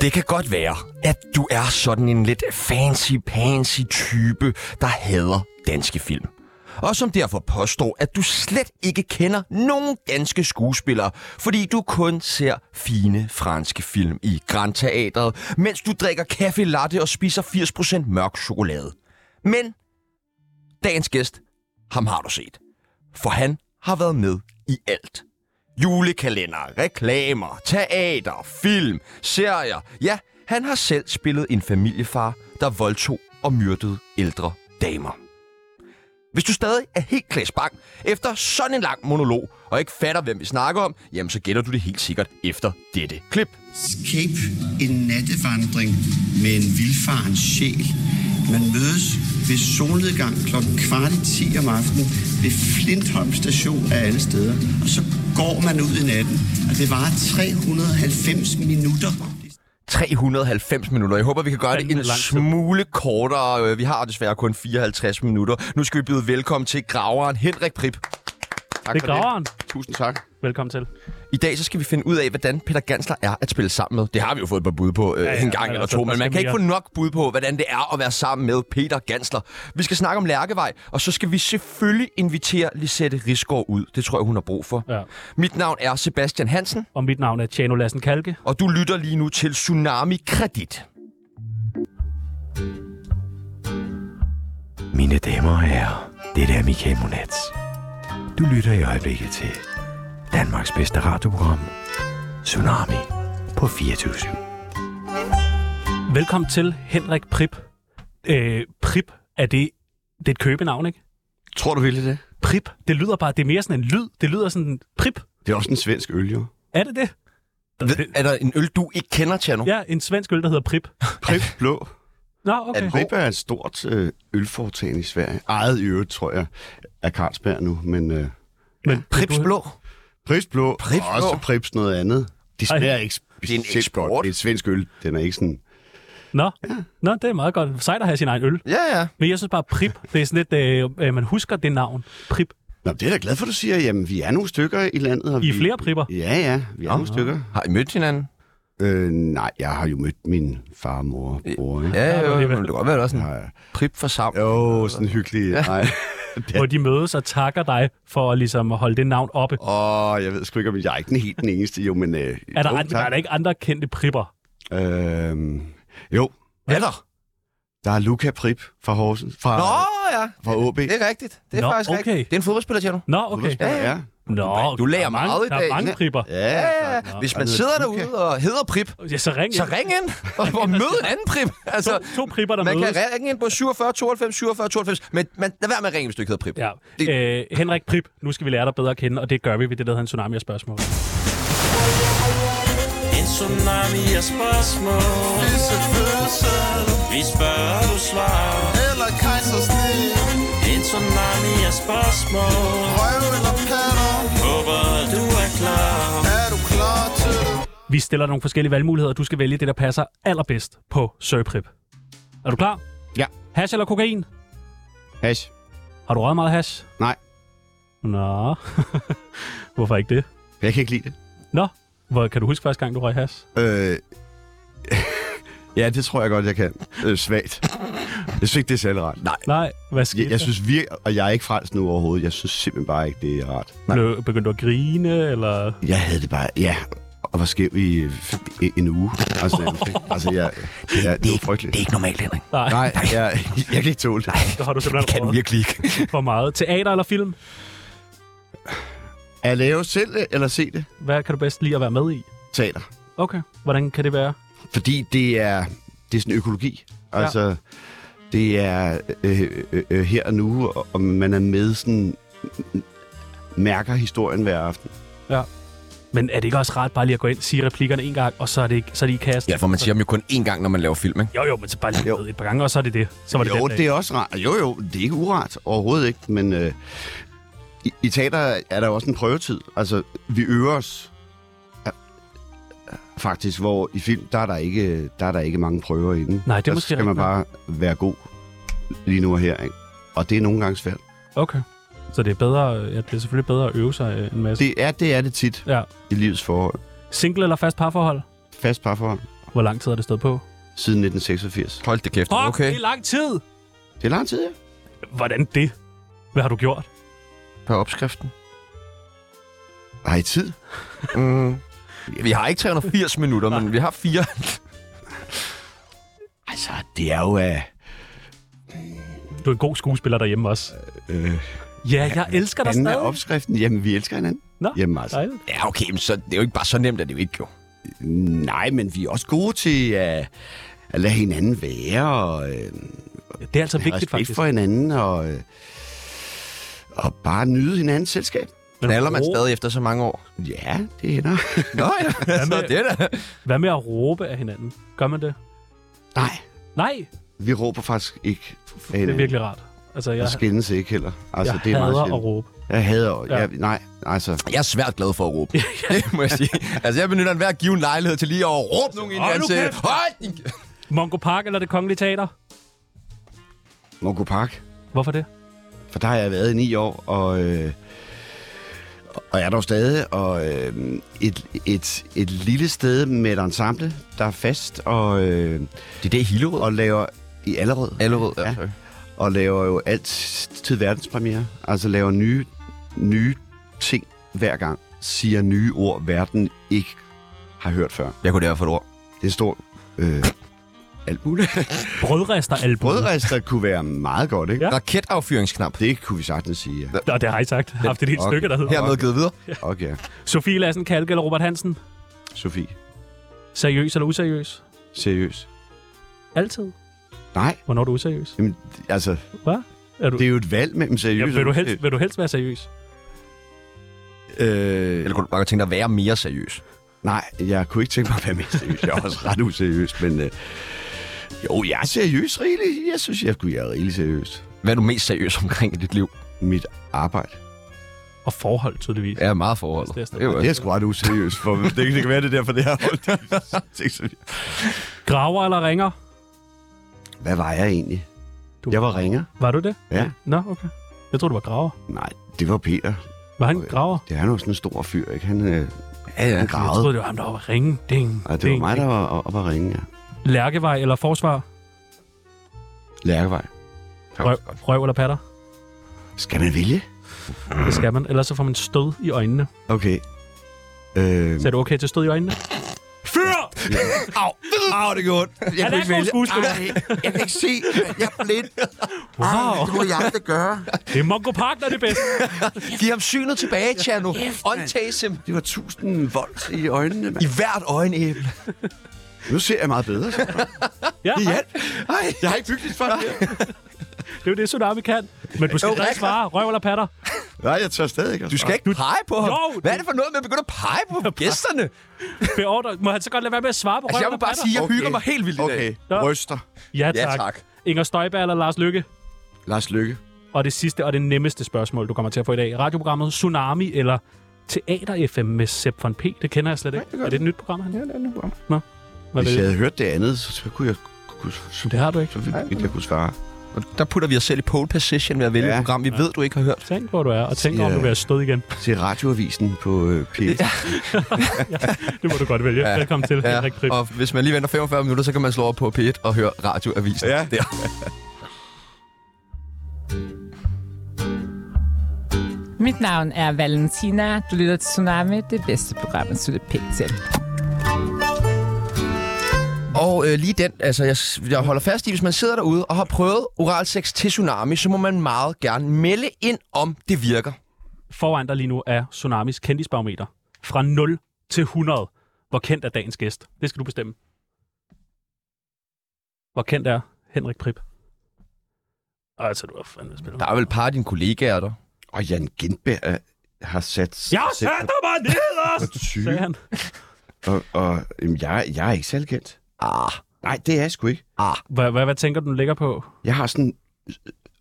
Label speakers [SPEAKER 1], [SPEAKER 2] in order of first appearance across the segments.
[SPEAKER 1] Det kan godt være, at du er sådan en lidt fancy-pansy type, der hader danske film. Og som derfor påstår, at du slet ikke kender nogen danske skuespillere, fordi du kun ser fine franske film i Grand Teateret, mens du drikker kaffe latte og spiser 80% mørk chokolade. Men dagens gæst, ham har du set. For han har været med i alt. Julekalender, reklamer, teater, film, serier. Ja, han har selv spillet en familiefar, der voldtog og myrdede ældre damer. Hvis du stadig er helt klæs bang efter sådan en lang monolog, og ikke fatter, hvem vi snakker om, jamen så gætter du det helt sikkert efter dette klip.
[SPEAKER 2] Cape, en nattevandring med en vildfaren sjæl. Man mødes ved solnedgang kl. kvart i 10 om aftenen ved Flintholm station af alle steder. Og så går man ud i natten, og det varer 390 minutter.
[SPEAKER 1] 390 minutter. Jeg håber, vi kan gøre det
[SPEAKER 3] Fandme
[SPEAKER 1] en
[SPEAKER 3] lang tid.
[SPEAKER 1] smule kortere. Øh, Vi har desværre kun 54 minutter. Nu skal vi byde velkommen til graveren Henrik Prip. Tak
[SPEAKER 3] Det er graveren.
[SPEAKER 1] Tusind tak.
[SPEAKER 3] Velkommen til.
[SPEAKER 1] I dag så skal vi finde ud af, hvordan Peter Gansler er at spille sammen med. Det har vi jo fået et par bud på øh, ja,
[SPEAKER 3] ja,
[SPEAKER 1] en gang
[SPEAKER 3] men
[SPEAKER 1] eller
[SPEAKER 3] altså,
[SPEAKER 1] to,
[SPEAKER 3] der
[SPEAKER 1] men man
[SPEAKER 3] skal
[SPEAKER 1] kan ikke få
[SPEAKER 3] mere.
[SPEAKER 1] nok bud på, hvordan det er at være sammen med Peter Gansler. Vi skal snakke om Lærkevej, og så skal vi selvfølgelig invitere Lisette Risgaard ud. Det tror jeg, hun har brug for.
[SPEAKER 3] Ja.
[SPEAKER 1] Mit navn er Sebastian Hansen,
[SPEAKER 3] Og mit navn er Tjano Lassen Kalke.
[SPEAKER 1] og du lytter lige nu til Tsunami Kredit.
[SPEAKER 4] Mine damer og herrer, det er Michael Monats. Du lytter i øjeblikket til Danmarks bedste radioprogram, Tsunami på 24
[SPEAKER 3] Velkommen til Henrik Prip. Øh, Prip, er det, det er et købenavn, ikke?
[SPEAKER 2] Tror du virkelig det?
[SPEAKER 3] Prip, det lyder bare, det er mere sådan en lyd. Det lyder sådan, Prip,
[SPEAKER 2] Det er også en svensk øl, jo.
[SPEAKER 3] er det det?
[SPEAKER 1] Ved- Er der en øl, du ikke kender, Tjerno?
[SPEAKER 3] Ja, en svensk øl, der hedder Prip.
[SPEAKER 2] Prip Blå.
[SPEAKER 3] Nå,
[SPEAKER 1] Er
[SPEAKER 3] okay.
[SPEAKER 1] det-
[SPEAKER 2] Prip er et stort øh, ølforetagende i Sverige. Ejet i øvrigt, tror jeg, af Carlsberg nu, men... Øh,
[SPEAKER 3] Men,
[SPEAKER 1] Prips
[SPEAKER 3] du-
[SPEAKER 1] Blå.
[SPEAKER 2] Prips Blå,
[SPEAKER 1] Prips
[SPEAKER 2] Prips og også
[SPEAKER 1] Blå.
[SPEAKER 2] Prips noget andet. Det
[SPEAKER 3] Ej.
[SPEAKER 2] smager ikke
[SPEAKER 1] er en
[SPEAKER 2] specielt
[SPEAKER 1] eksport.
[SPEAKER 2] godt. Det er et svensk øl. Den er ikke sådan...
[SPEAKER 3] Nå, nå, det er meget godt. Sejt at have sin egen øl.
[SPEAKER 1] Ja, ja.
[SPEAKER 3] Men jeg synes bare, Prip, det er sådan lidt, øh, øh, man husker det navn. Prip.
[SPEAKER 2] Nå, det er jeg da glad for, du siger. Jamen, vi er nogle stykker i landet. Og
[SPEAKER 3] I er
[SPEAKER 2] vi...
[SPEAKER 3] flere pripper.
[SPEAKER 2] Ja, ja, vi er nogle stykker.
[SPEAKER 1] Har I mødt hinanden?
[SPEAKER 2] Øh, nej, jeg har jo mødt min far, mor og bror. Ikke?
[SPEAKER 1] Ja,
[SPEAKER 3] det
[SPEAKER 1] jo,
[SPEAKER 3] er
[SPEAKER 1] men
[SPEAKER 3] vel-
[SPEAKER 1] det kan godt være, at der er sådan
[SPEAKER 2] Ja,
[SPEAKER 1] en
[SPEAKER 2] ja.
[SPEAKER 1] prip for sammen.
[SPEAKER 2] Jo, sådan hyggelig. Nej.
[SPEAKER 3] Ja. Hvor de mødes og takker dig for at, ligesom, at holde det navn oppe.
[SPEAKER 2] Åh, jeg ved sgu ikke, om jeg er ikke den helt den eneste. Jo, men... Øh,
[SPEAKER 3] Er der,
[SPEAKER 2] jo,
[SPEAKER 3] andre, er der ikke andre kendte pripper?
[SPEAKER 2] Øhm, jo,
[SPEAKER 1] Er der?
[SPEAKER 2] der er Luca Prip fra Horsens. Fra,
[SPEAKER 1] Nå, ja.
[SPEAKER 2] fra OB.
[SPEAKER 1] Det er rigtigt. Det er
[SPEAKER 3] Nå,
[SPEAKER 1] faktisk
[SPEAKER 3] okay.
[SPEAKER 1] rigtigt. Det er en fodboldspiller, Tjerno.
[SPEAKER 3] Nå, okay.
[SPEAKER 2] Ja, ja.
[SPEAKER 3] Nå,
[SPEAKER 1] Du lærer
[SPEAKER 3] der er
[SPEAKER 1] meget
[SPEAKER 3] mange,
[SPEAKER 1] i
[SPEAKER 3] der
[SPEAKER 1] dag.
[SPEAKER 3] er mange pripper.
[SPEAKER 2] Ja,
[SPEAKER 1] Ja, ja, ja. Hvis man sidder derude og hedder Prip,
[SPEAKER 3] Ja, så ring
[SPEAKER 1] så
[SPEAKER 3] ind.
[SPEAKER 1] ring ind og, og mød en anden Prip. Altså,
[SPEAKER 3] To, to pripper, der
[SPEAKER 1] man
[SPEAKER 3] mødes.
[SPEAKER 1] kan ringe ind på 47 92 47 92, men man, lad være med at ringe, hvis du ikke hedder Prip.
[SPEAKER 3] Ja.
[SPEAKER 1] Det-
[SPEAKER 3] Øh, Henrik Prip, nu skal vi lære dig bedre at kende, og det gør vi ved det, der hedder en tsunami af spørgsmål.
[SPEAKER 5] En tsunami af spørgsmål Vi spørger, du svarer
[SPEAKER 6] Eller kejsersnit
[SPEAKER 5] En tsunami af spørgsmål
[SPEAKER 6] Røv eller patter
[SPEAKER 5] Håber, du er klar
[SPEAKER 6] Er du klar til det?
[SPEAKER 3] Vi stiller nogle forskellige valgmuligheder, og du skal vælge det, der passer allerbedst på Sørprip. Er du klar?
[SPEAKER 2] Ja.
[SPEAKER 3] Hash eller kokain?
[SPEAKER 2] Hash.
[SPEAKER 3] Har du røget meget hash?
[SPEAKER 2] Nej.
[SPEAKER 3] Nå. Hvorfor ikke det?
[SPEAKER 2] Jeg kan ikke lide det.
[SPEAKER 3] Nå. Hvor, kan du huske første gang, du røg hash?
[SPEAKER 2] Øh, ja, det tror jeg godt, jeg kan. Øh, svagt. Jeg synes ikke, det er særlig rart. Nej.
[SPEAKER 3] Nej. Hvad skete
[SPEAKER 2] Jeg, jeg synes virkelig, og jeg er ikke fransk nu overhovedet, jeg synes simpelthen bare ikke, det er rart.
[SPEAKER 3] der? Blev, begyndte du at grine, eller...
[SPEAKER 2] Jeg havde det bare, ja, og var skæv i øh, f- i en uge. Altså, nærmest, ikke? altså jeg, jeg, det var frygteligt.
[SPEAKER 1] ikke normalt, Henrik.
[SPEAKER 3] Nej,
[SPEAKER 2] Nej, jeg, jeg kan ikke tåle det.
[SPEAKER 3] der har du simpelthen røget
[SPEAKER 1] virkelig ikke.
[SPEAKER 3] for meget. Teater eller film?
[SPEAKER 2] At lave selv det, eller se det?
[SPEAKER 3] Hvad kan du bedst lide at være med i?
[SPEAKER 2] Teater.
[SPEAKER 3] Okay. Hvordan kan det være?
[SPEAKER 2] Fordi det er, det er sådan økologi. Altså, ja. det er øh, øh, øh, her og nu, og- og man er med sådan mærker historien hver aften.
[SPEAKER 3] Men er det ikke også rart bare lige at gå ind, sige replikkerne en gang, og så er det, ikke, så er det i kast?
[SPEAKER 1] Ja, for man siger dem jo kun én gang, når man laver film, ikke?
[SPEAKER 3] Jo, jo, men så bare lige
[SPEAKER 2] Jo.
[SPEAKER 3] jo. et par gange, og så er det det. Så var det
[SPEAKER 2] jo,
[SPEAKER 3] den dag.
[SPEAKER 2] det er også rart. Jo, jo, det er ikke urart. Overhovedet ikke. Men øh, i, i teater er der også en prøvetid. Altså, vi øver os øh, øh, faktisk, hvor i film, der er der ikke, der er der ikke mange prøver inden.
[SPEAKER 3] Nej, det er
[SPEAKER 2] der
[SPEAKER 3] måske
[SPEAKER 2] skal man
[SPEAKER 3] rigtigt
[SPEAKER 2] bare være god lige nu og her, ikke? Og det er nogle gange svært.
[SPEAKER 3] Okay. Så det er, bedre, ja, det er selvfølgelig bedre at øve sig øh, en masse.
[SPEAKER 2] Det er det, er det tit
[SPEAKER 3] Ja.
[SPEAKER 2] i livets forhold.
[SPEAKER 3] Single eller fast parforhold?
[SPEAKER 2] Fast parforhold.
[SPEAKER 3] Hvor lang tid har det stået på?
[SPEAKER 2] siden 1986.
[SPEAKER 1] Hold det kæft.
[SPEAKER 3] Fuck,
[SPEAKER 1] Okay.
[SPEAKER 3] det er lang tid!
[SPEAKER 2] Det er lang tid, ja.
[SPEAKER 3] Hvordan det? Hvad har du gjort?
[SPEAKER 1] På opskriften.
[SPEAKER 2] Har I tid?
[SPEAKER 1] Mm. Vi har ikke 380 minutter, men vi har fire.
[SPEAKER 2] Altså, det er jo... Uh...
[SPEAKER 3] Du er en god skuespiller derhjemme også.
[SPEAKER 2] Øh,
[SPEAKER 3] Ja, jeg elsker dig
[SPEAKER 2] anden
[SPEAKER 3] stadig.
[SPEAKER 2] er opskriften. Jamen, vi elsker hinanden.
[SPEAKER 3] Nå,
[SPEAKER 2] Jamen, altså.
[SPEAKER 3] dejligt.
[SPEAKER 1] Ja, okay, men så, det er jo ikke bare så nemt, at det jo ikke jo.
[SPEAKER 2] Nej, men vi er også gode til at, at lade hinanden være, og øh,
[SPEAKER 3] Det er altså
[SPEAKER 2] have
[SPEAKER 3] vigtigt,
[SPEAKER 2] respekt
[SPEAKER 3] faktisk.
[SPEAKER 2] for hinanden, og, øh, og bare nyde hinandens selskab.
[SPEAKER 3] Men
[SPEAKER 1] Knaller man
[SPEAKER 3] ro-
[SPEAKER 1] stadig efter så mange år?
[SPEAKER 2] Ja, det hænder.
[SPEAKER 1] Nå ja, altså,
[SPEAKER 3] med-
[SPEAKER 1] det er da.
[SPEAKER 3] Hvad med at råbe af hinanden? Gør man det?
[SPEAKER 2] Nej,
[SPEAKER 3] Nej,
[SPEAKER 2] vi råber faktisk ikke. af
[SPEAKER 3] det er
[SPEAKER 2] hinanden.
[SPEAKER 3] virkelig rart. Altså, jeg,
[SPEAKER 2] Og skændes ikke heller. Altså,
[SPEAKER 3] jeg
[SPEAKER 2] det er meget
[SPEAKER 3] hader at
[SPEAKER 2] sjældent.
[SPEAKER 3] råbe.
[SPEAKER 2] Jeg hader ja.
[SPEAKER 3] Ja.
[SPEAKER 2] jeg, Nej, altså.
[SPEAKER 1] Jeg er svært glad for at råbe. det må jeg sige. Altså, jeg benytter enhver given lejlighed til lige at råbe nogen i øh, en
[SPEAKER 3] Hold nu
[SPEAKER 1] ansigt.
[SPEAKER 3] kæft!
[SPEAKER 1] Hold din...
[SPEAKER 3] Mongo Park eller det Kongelige Teater?
[SPEAKER 2] Mongo Park,
[SPEAKER 3] Hvorfor det?
[SPEAKER 2] for der har jeg været i ni år, og... Øh, og jeg er dog stadig, og øh, et, et, et lille sted med et ensemble, der er fast, og, øh,
[SPEAKER 1] Det er det i Hillerød.
[SPEAKER 2] og laver i Allerød.
[SPEAKER 1] Allerød, ja.
[SPEAKER 2] Ja.
[SPEAKER 1] sorry.
[SPEAKER 2] og laver jo altid verdenspremiere. Altså laver nye, nye ting hver gang. Siger nye ord, verden ikke har hørt før.
[SPEAKER 1] Jeg kunne derfor få et ord.
[SPEAKER 2] Det er en stor... Øh, alt muligt.
[SPEAKER 3] Brødrester album.
[SPEAKER 2] Brødrester kunne være meget godt, ikke?
[SPEAKER 3] Ja.
[SPEAKER 2] Ja.
[SPEAKER 1] Raketaffyringsknap.
[SPEAKER 2] Det kunne vi sagtens sige, ja.
[SPEAKER 3] Nå, det har I sagt. Haft et helt
[SPEAKER 2] Okay.
[SPEAKER 3] stykke, der hedder.
[SPEAKER 1] Hermed givet videre.
[SPEAKER 2] Okay,
[SPEAKER 3] Sofie Lassen Kalke eller Robert Hansen?
[SPEAKER 2] Sofie.
[SPEAKER 3] Seriøs eller useriøs?
[SPEAKER 2] Seriøst.
[SPEAKER 3] Altid.
[SPEAKER 2] Nej,
[SPEAKER 3] Hvornår er du useriøs?
[SPEAKER 2] jamen, altså,
[SPEAKER 3] Hvad? Er du,
[SPEAKER 2] det er jo et valg mellem
[SPEAKER 3] ja,
[SPEAKER 2] seriøst
[SPEAKER 3] vil, du helst, vil du helst være seriøs?
[SPEAKER 2] Øh,
[SPEAKER 1] Eller kunne du bare tænke dig at være mere seriøs?
[SPEAKER 2] Nej, jeg kunne ikke tænke mig at være mere seriøs. Jeg er også ret useriøs, men... Øh, jo, jeg er seriøs rigeligt. Jeg synes, jeg, sgu, jeg er rigeligt seriøs.
[SPEAKER 1] Hvad er du mest seriøs omkring i dit liv?
[SPEAKER 2] Mit arbejde.
[SPEAKER 3] Og forhold, tydeligvis.
[SPEAKER 1] Jeg er meget forholdet.
[SPEAKER 3] Det er stadig-
[SPEAKER 1] Det er jo
[SPEAKER 2] Det er sgu ret useriøst, for det, det kan være det er derfor, det her
[SPEAKER 3] Graver eller ringer?
[SPEAKER 2] Hvad var jeg egentlig?
[SPEAKER 3] Du-
[SPEAKER 2] Du. Jeg var ringer.
[SPEAKER 3] Var du det?
[SPEAKER 2] Ja.
[SPEAKER 3] Nå, okay. Jeg tror du var graver.
[SPEAKER 2] Nej, det var Peter.
[SPEAKER 3] Var han
[SPEAKER 2] Okay.
[SPEAKER 3] graver?
[SPEAKER 2] Det er jo sådan en stor fyr, ikke? Han, øh,
[SPEAKER 1] Ja, ja.
[SPEAKER 2] han
[SPEAKER 3] Jeg
[SPEAKER 2] gravede.
[SPEAKER 3] troede, det var ham, der var oppe at ringe. Ding,
[SPEAKER 2] Og det var
[SPEAKER 3] ding,
[SPEAKER 2] mig,
[SPEAKER 3] ding.
[SPEAKER 2] der var o- oppe at ringe, ja.
[SPEAKER 3] Lærkevej eller forsvar?
[SPEAKER 2] Lærkevej.
[SPEAKER 3] Røv, røv eller patter?
[SPEAKER 2] Skal man vælge?
[SPEAKER 3] Det skal man. Ellers så får man stød i øjnene.
[SPEAKER 2] Okay. Øh,
[SPEAKER 3] Så er du okay til stød i øjnene? Fyr!
[SPEAKER 1] Au! Au, det gjorde ondt. Jeg Ah.
[SPEAKER 3] Han er ikke god skuespiller.
[SPEAKER 2] jeg kan ikke se. Jeg er blind.
[SPEAKER 3] Wow.
[SPEAKER 2] må jeg det gøre.
[SPEAKER 3] Det er Mongo Park, der er det bedste.
[SPEAKER 1] Giv ham synet tilbage, Tjerno. Untase him.
[SPEAKER 2] Det var 1000 volt i øjnene, mand.
[SPEAKER 1] I hvert øjenæble.
[SPEAKER 2] Nu ser jeg meget bedre. så.
[SPEAKER 3] Ja,
[SPEAKER 2] Det
[SPEAKER 3] det
[SPEAKER 2] hjalp. Nej, jeg har ikke bygget for det.
[SPEAKER 3] er jo det, Tsunami kan. Men du skal da ikke svare. Røv eller patter?
[SPEAKER 2] Nej, jeg tør stadig ikke. at
[SPEAKER 1] Du skal ikke pege på ham.
[SPEAKER 3] Jo,
[SPEAKER 1] Hvad er det for noget med at begynde at pege på gæsterne?
[SPEAKER 3] Beordre. Må han så godt lade være med at svare på
[SPEAKER 1] Altså,
[SPEAKER 3] røv
[SPEAKER 1] jeg må
[SPEAKER 3] eller
[SPEAKER 1] bare
[SPEAKER 3] patter?
[SPEAKER 1] sige, at jeg
[SPEAKER 2] Okay.
[SPEAKER 1] hygger mig helt vildt i dag.
[SPEAKER 2] Okay,
[SPEAKER 3] Ja.
[SPEAKER 2] ryster.
[SPEAKER 3] Ja
[SPEAKER 1] Ja,
[SPEAKER 3] tak.
[SPEAKER 1] tak.
[SPEAKER 3] Inger Støjberg eller Lars Lykke?
[SPEAKER 2] Lars Lykke.
[SPEAKER 3] Og det sidste og det nemmeste spørgsmål, du kommer til at få i dag. Radioprogrammet Tsunami eller Teater FM med Sepp von P. Det kender jeg slet ikke. er det et nyt program, han? Ja, det er et nyt program. Nå. Hvad
[SPEAKER 2] Hvis
[SPEAKER 3] ved
[SPEAKER 2] jeg
[SPEAKER 3] jeg?
[SPEAKER 2] havde hørt det andet, så, så kunne jeg kunne, så,
[SPEAKER 3] Det har du ikke.
[SPEAKER 2] så ville ville jeg kunne svare.
[SPEAKER 1] Og der putter vi os selv i pole position ved at vælge
[SPEAKER 2] Ja.
[SPEAKER 1] et program, vi ved, du ikke har hørt.
[SPEAKER 3] Tænk, hvor du er, og tænk, om
[SPEAKER 2] Ja.
[SPEAKER 3] du vil have stød igen.
[SPEAKER 2] Til radioavisen på øh, P1. Ja.
[SPEAKER 3] Det må du godt vælge.
[SPEAKER 1] Ja.
[SPEAKER 3] Velkommen til, Henrik Prip.
[SPEAKER 1] Og hvis man lige venter 45 minutter, så kan man slå over på P1 og høre radioavisen.
[SPEAKER 2] Ja.
[SPEAKER 1] Der.
[SPEAKER 7] Mit navn er Valentina. Du lytter til Tsunami, det bedste program, at slutte pænt til.
[SPEAKER 1] Og øh, lige den, altså jeg, s- jeg holder fast i, hvis man sidder derude og har prøvet oralsex til tsunami, så må man meget gerne melde ind, om det virker.
[SPEAKER 3] Foran dig lige nu er Tsunamis kendisbarometer. Fra 0 til 100. Hvor kendt er dagens gæst? Det skal du bestemme. Hvor kendt er Henrik Prip? Altså, du har fandme spillet.
[SPEAKER 1] Der er vel et par af dine kollegaer der.
[SPEAKER 2] Og Jan Gindberg øh, har sat...
[SPEAKER 3] Jeg
[SPEAKER 2] sat mig
[SPEAKER 3] sætter mig nederst,
[SPEAKER 2] på 20,
[SPEAKER 3] sagde han.
[SPEAKER 2] og, og jamen, jeg, jeg er ikke særlig kendt.
[SPEAKER 1] Ah,
[SPEAKER 2] Nej, det er jeg sgu ikke.
[SPEAKER 3] Hvad, hvad, hvad tænker du, den ligger på?
[SPEAKER 2] Jeg har sådan øh,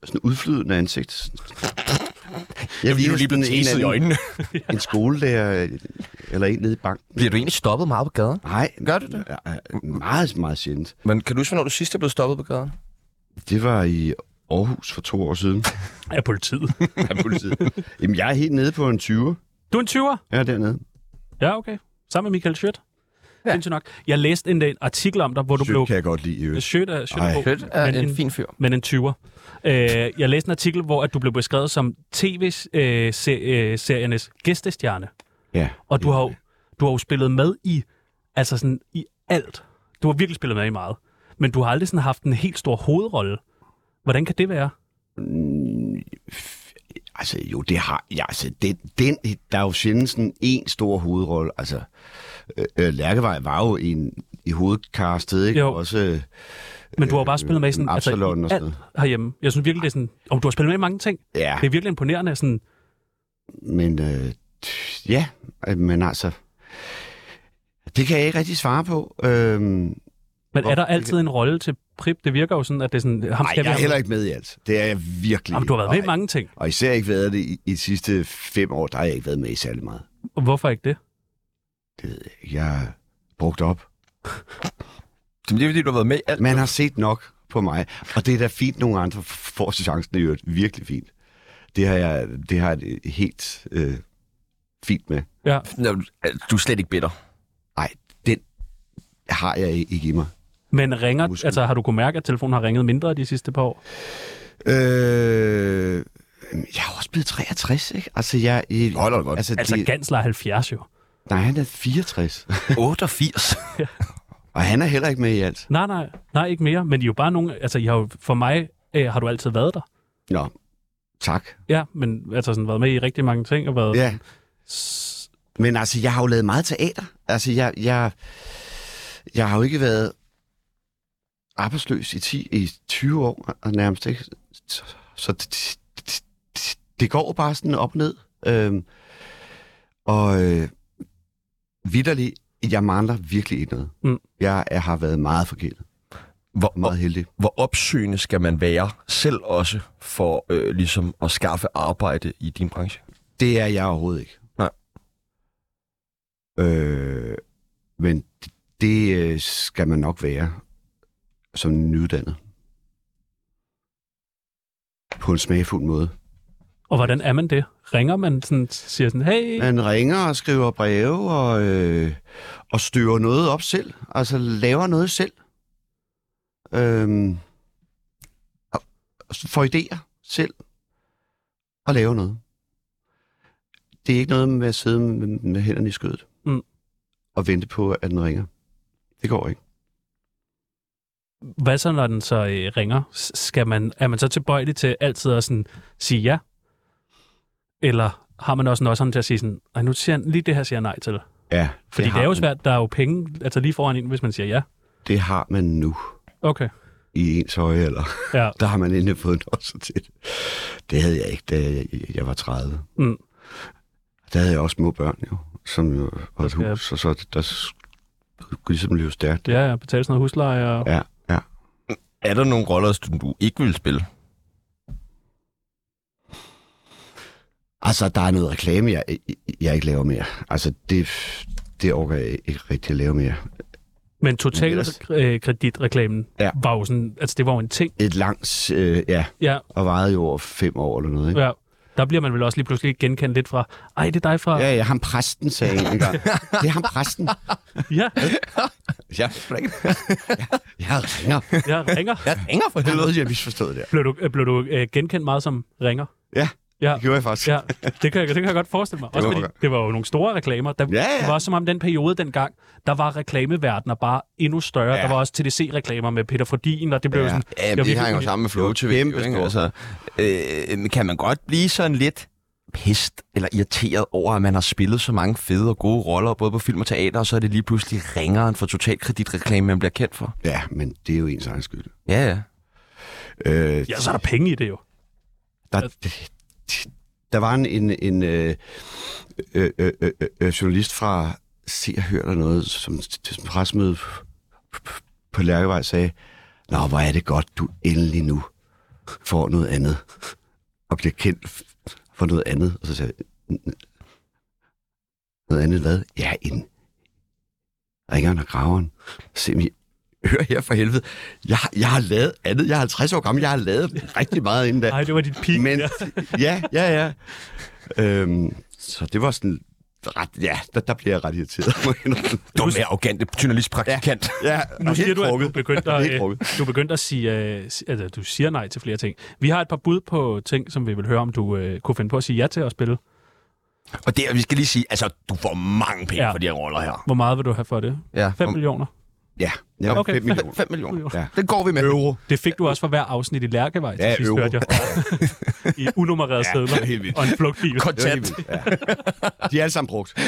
[SPEAKER 2] sådan udflydende ansigt. Jeg
[SPEAKER 1] vi er jo
[SPEAKER 2] ligner
[SPEAKER 1] lige blevet
[SPEAKER 2] sådan en
[SPEAKER 1] teset i
[SPEAKER 2] anden-
[SPEAKER 1] øjnene.
[SPEAKER 2] En skolelærer øh, eller en nede i banken.
[SPEAKER 1] Bliver du egentlig stoppet meget på gaden?
[SPEAKER 2] Nej,
[SPEAKER 1] Gør du det?
[SPEAKER 2] Ja, ja, meget, meget sjældent.
[SPEAKER 1] Men kan du huske, hvornår du sidst er blevet stoppet på gaden?
[SPEAKER 2] Det var i Aarhus for to år siden
[SPEAKER 3] Af politiet.
[SPEAKER 2] af politiet. Jamen, jeg er helt nede på en 20.
[SPEAKER 3] Du er en 20'er?
[SPEAKER 2] Jeg er dernede.
[SPEAKER 3] Ja, okay. Sammen med Michael Schødt. Ja. Sindssygt nok. Jeg læste en dag artikel om dig, hvor du blev...
[SPEAKER 2] Sødt kan jeg godt lide. i øvrigt.
[SPEAKER 3] Sødt er, sødt
[SPEAKER 2] Ej.
[SPEAKER 3] er, god,
[SPEAKER 8] Kødt er
[SPEAKER 3] men
[SPEAKER 8] en fin fyr.
[SPEAKER 3] Men en 20'er. Øh, jeg læste en artikel, hvor at du blev beskrevet som øh, tv-seriernes gæstestjerne.
[SPEAKER 2] Ja.
[SPEAKER 3] Og du har, jo, du har jo spillet med i, altså sådan, i alt. Du har virkelig spillet med i meget. Men du har aldrig sådan haft en helt stor hovedrolle. Hvordan kan det være?
[SPEAKER 2] Altså jo, det har... Ja, altså, den, den, der er jo sjældent sådan en stor hovedrolle. Altså, øh, øh, Lærkevej var jo en i hovedkastet, ikke?
[SPEAKER 3] Jo.
[SPEAKER 2] Også øh,
[SPEAKER 3] Men du har jo bare spillet med i sådan,
[SPEAKER 2] øh, Absalon og
[SPEAKER 3] altså, i
[SPEAKER 2] sådan
[SPEAKER 3] alt herhjemme. Jeg synes virkelig, det er sådan, om du har spillet med i mange ting.
[SPEAKER 2] Ja,
[SPEAKER 3] Det er virkelig imponerende. Sådan,
[SPEAKER 2] men øh, t- ja, øh, men altså... Det kan jeg ikke rigtig svare på. Øhm,
[SPEAKER 3] men er
[SPEAKER 2] Hvor-
[SPEAKER 3] der altid en rolle til Prip? Det virker jo sådan, at det er sådan, ham
[SPEAKER 2] nej,
[SPEAKER 3] skal
[SPEAKER 2] jeg er
[SPEAKER 3] vi
[SPEAKER 2] heller
[SPEAKER 3] have.
[SPEAKER 2] ikke med i alt. Det er jeg virkelig.
[SPEAKER 3] Jamen, du har været med i
[SPEAKER 2] Og-
[SPEAKER 3] mange ting.
[SPEAKER 2] Og især ikke været det i, i de sidste fem år, der har jeg ikke været med i særlig meget.
[SPEAKER 3] Hvorfor ikke det?
[SPEAKER 2] Det ved jeg ikke. Jeg er brugt op.
[SPEAKER 1] Jamen, det er fordi, du har været med i alt.
[SPEAKER 2] Man har set nok på mig, og det er da fint, nogle andre får chancen i øvrigt. Virkelig fint. Det har jeg, det har jeg det helt øh, fint med.
[SPEAKER 3] Ja.
[SPEAKER 1] Nå, Du er slet ikke bitter.
[SPEAKER 2] Nej, den har jeg ikke i mig.
[SPEAKER 3] Men ringer,
[SPEAKER 2] Måske.
[SPEAKER 3] altså har du kunnet mærke, at telefonen har ringet mindre de sidste par år?
[SPEAKER 2] Øh, jeg er også blevet 63, ikke? Altså, jeg... jeg
[SPEAKER 1] Hold da godt.
[SPEAKER 2] Altså,
[SPEAKER 3] Altså,
[SPEAKER 2] det,
[SPEAKER 3] Gansler er 70 jo.
[SPEAKER 2] nej, han er 64.
[SPEAKER 1] 88.
[SPEAKER 2] og han er heller ikke med i alt.
[SPEAKER 3] Nej, nej, nej, ikke mere. Men I er jo bare nogen, altså I har jo, for mig øh, har du altid været der.
[SPEAKER 2] Nå, tak.
[SPEAKER 3] Ja, men altså sådan været med i rigtig mange ting og været...
[SPEAKER 2] Ja.
[SPEAKER 3] S-
[SPEAKER 2] Men altså, jeg har jo lavet meget teater. Altså, jeg, jeg, jeg har jo ikke været arbejdsløs i, 10, i 20 år og nærmest, ikke? Så, så det, det- det, det går bare sådan op og ned. Øhm, og øh, vidderligt, jeg mangler virkelig ikke noget.
[SPEAKER 3] Mm.
[SPEAKER 2] Jeg, jeg har været meget forkælet.
[SPEAKER 1] Hvor,
[SPEAKER 2] og Meget heldig.
[SPEAKER 1] hvor opsøgende skal man være selv også for øh, ligesom at skaffe arbejde i din branche?
[SPEAKER 2] Det er jeg overhovedet ikke.
[SPEAKER 1] Nej.
[SPEAKER 2] Øh, men det, det øh, skal man nok være som nyuddannet. På en smagfuld måde.
[SPEAKER 3] Og hvordan er man det? Ringer man sådan, siger sådan, hey,
[SPEAKER 2] Man ringer og skriver breve og, øh, og støver noget op selv. Altså laver noget selv. Øhm, og, og får idéer selv og laver noget. Det er ikke noget med at sidde med, med hænderne i skødet
[SPEAKER 3] Mm.
[SPEAKER 2] og vente på, at den ringer. Det går ikke.
[SPEAKER 3] hvad så, når den så øh, ringer? S- Skal man, er man så tilbøjelig til altid at sådan, sige ja? Eller har man også en også til at sige sådan, "Ej, nu siger han, lige det her siger jeg nej til.
[SPEAKER 2] Ja,
[SPEAKER 3] Fordi det,
[SPEAKER 2] har
[SPEAKER 3] det er jo
[SPEAKER 2] man,
[SPEAKER 3] svært, der er jo penge altså lige foran en, hvis man siger ja.
[SPEAKER 2] det har man nu
[SPEAKER 3] Okay,
[SPEAKER 2] i ens høje alder.
[SPEAKER 3] ja.
[SPEAKER 2] Der har man endelig fået en også til. det. Det havde jeg ikke, da jeg, jeg var 30.
[SPEAKER 3] Mm.
[SPEAKER 2] Der havde jeg også små børn, jo, som jo var et
[SPEAKER 3] skal-
[SPEAKER 2] hus, og så der skulle ligesom løbe stærkt.
[SPEAKER 3] Ja, ja, betale sådan noget husleje og...
[SPEAKER 2] Ja, ja.
[SPEAKER 1] Er der nogle roller, som du ikke vil spille?
[SPEAKER 2] Altså, der er noget reklame, jeg, jeg ikke laver mere. Altså, det, det orker jeg ikke rigtig at lave mere.
[SPEAKER 3] Men total
[SPEAKER 2] Ellers-
[SPEAKER 3] øh, kreditreklamen
[SPEAKER 2] Ja.
[SPEAKER 3] var jo sådan, altså det var jo en ting.
[SPEAKER 2] Et langt, øh, ja,
[SPEAKER 3] Ja,
[SPEAKER 2] og vejede jo over fem år eller noget, ikke?
[SPEAKER 3] ja. Der bliver man vel også lige pludselig genkendt lidt fra, ej, det er dig fra... Ja,
[SPEAKER 2] Ja, ja, ham præsten sagde en gang. Det er ham præsten.
[SPEAKER 3] ja
[SPEAKER 1] Ja, ikke.
[SPEAKER 2] Jeg ringer.
[SPEAKER 3] jeg ringer.
[SPEAKER 1] Jeg ringer for
[SPEAKER 2] Det er
[SPEAKER 1] helvede.
[SPEAKER 2] noget, jeg misforstod der.
[SPEAKER 3] Blev du, øh, blev du øh, genkendt meget som ringer?
[SPEAKER 2] Ja,
[SPEAKER 3] Ja.
[SPEAKER 2] det gjorde jeg faktisk.
[SPEAKER 3] Ja, det kan, jeg, det kan jeg godt forestille mig. Også
[SPEAKER 2] var
[SPEAKER 3] fordi
[SPEAKER 2] godt.
[SPEAKER 3] det var jo nogle store reklamer. Der,
[SPEAKER 2] Ja,
[SPEAKER 3] Det
[SPEAKER 2] ja.
[SPEAKER 3] var også som om den periode dengang, der var reklameverdener bare endnu større. Ja.
[SPEAKER 2] Ja.
[SPEAKER 3] Der var også TDC-reklamer med Peter Frodin, og det blev ja.
[SPEAKER 2] Ja.
[SPEAKER 3] sådan...
[SPEAKER 1] Ja,
[SPEAKER 3] var
[SPEAKER 1] men det
[SPEAKER 3] virkelig
[SPEAKER 1] hænger jo
[SPEAKER 3] imponerende.
[SPEAKER 1] sammen med Flow
[SPEAKER 2] Det er
[SPEAKER 1] TV.
[SPEAKER 2] jo
[SPEAKER 1] Ikke?
[SPEAKER 2] kæmpestort.
[SPEAKER 1] Altså, øh, men kan man godt blive sådan lidt pest eller irriteret over, at man har spillet så mange fede og gode roller, både på film og teater, og så er det lige pludselig ringeren for totalkreditreklame, man bliver kendt for?
[SPEAKER 2] ja, men det er jo ens egen skyld.
[SPEAKER 1] Ja, ja.
[SPEAKER 2] Øh,
[SPEAKER 3] Ja, så er der penge i det jo.
[SPEAKER 2] Der, øh, der var en, en, en øh, øh, øh, øh, øh, journalist fra Se og Hør eller noget, som til sådan et pressemøde på Lærkevej sagde, Nå, hvor er det godt, du endelig nu får noget andet, og bliver kendt for noget andet. Og så sagde jeg, noget andet hvad? Ja, en ringeren og graveren. Se, men hør her for helvede. Jeg, har- jeg har lavet andet. Jeg er 50 år gammel. Jeg har lavet rigtig meget inden da.
[SPEAKER 3] Nej, det var dit pik.
[SPEAKER 2] Men,
[SPEAKER 3] Ja.
[SPEAKER 2] ja, ja, ja. øhm, så det var sådan ret, ja, der, der bliver jeg ret irriteret. må jeg indrømme.
[SPEAKER 1] Dumme, arrogante journalistpraktikant.
[SPEAKER 2] ja,
[SPEAKER 3] Nu
[SPEAKER 2] og
[SPEAKER 3] siger
[SPEAKER 2] helt
[SPEAKER 3] du, at du
[SPEAKER 2] krukket.
[SPEAKER 3] begyndte at,
[SPEAKER 2] Helt
[SPEAKER 3] øh,
[SPEAKER 2] krukket.
[SPEAKER 3] du begyndte at sige, øh, si- altså, du siger nej til flere ting. Vi har et par bud på ting, som vi vil høre, om du øh, kunne finde på at sige ja til at spille.
[SPEAKER 1] Og der, vi skal lige sige, altså, du får mange penge
[SPEAKER 3] Ja.
[SPEAKER 1] ja. for de her roller her.
[SPEAKER 3] Hvor meget vil du have for det?
[SPEAKER 1] Ja.
[SPEAKER 3] 5 millioner?
[SPEAKER 1] Ja.
[SPEAKER 2] Ja,
[SPEAKER 3] Okay.
[SPEAKER 2] okay. 5 millioner.
[SPEAKER 1] 5 millioner.
[SPEAKER 2] Ja.
[SPEAKER 1] Den går vi med. Euro.
[SPEAKER 3] Det fik du også for hver afsnit i Lærkevej til
[SPEAKER 2] Ja,
[SPEAKER 3] sidst,
[SPEAKER 2] euro.
[SPEAKER 3] hørte jeg. I unummererede ja, sædler
[SPEAKER 1] helt vildt.
[SPEAKER 3] og en flugtbil.
[SPEAKER 2] Det var helt
[SPEAKER 1] Kontant.
[SPEAKER 2] vildt, Ja. De er alle sammen brugt.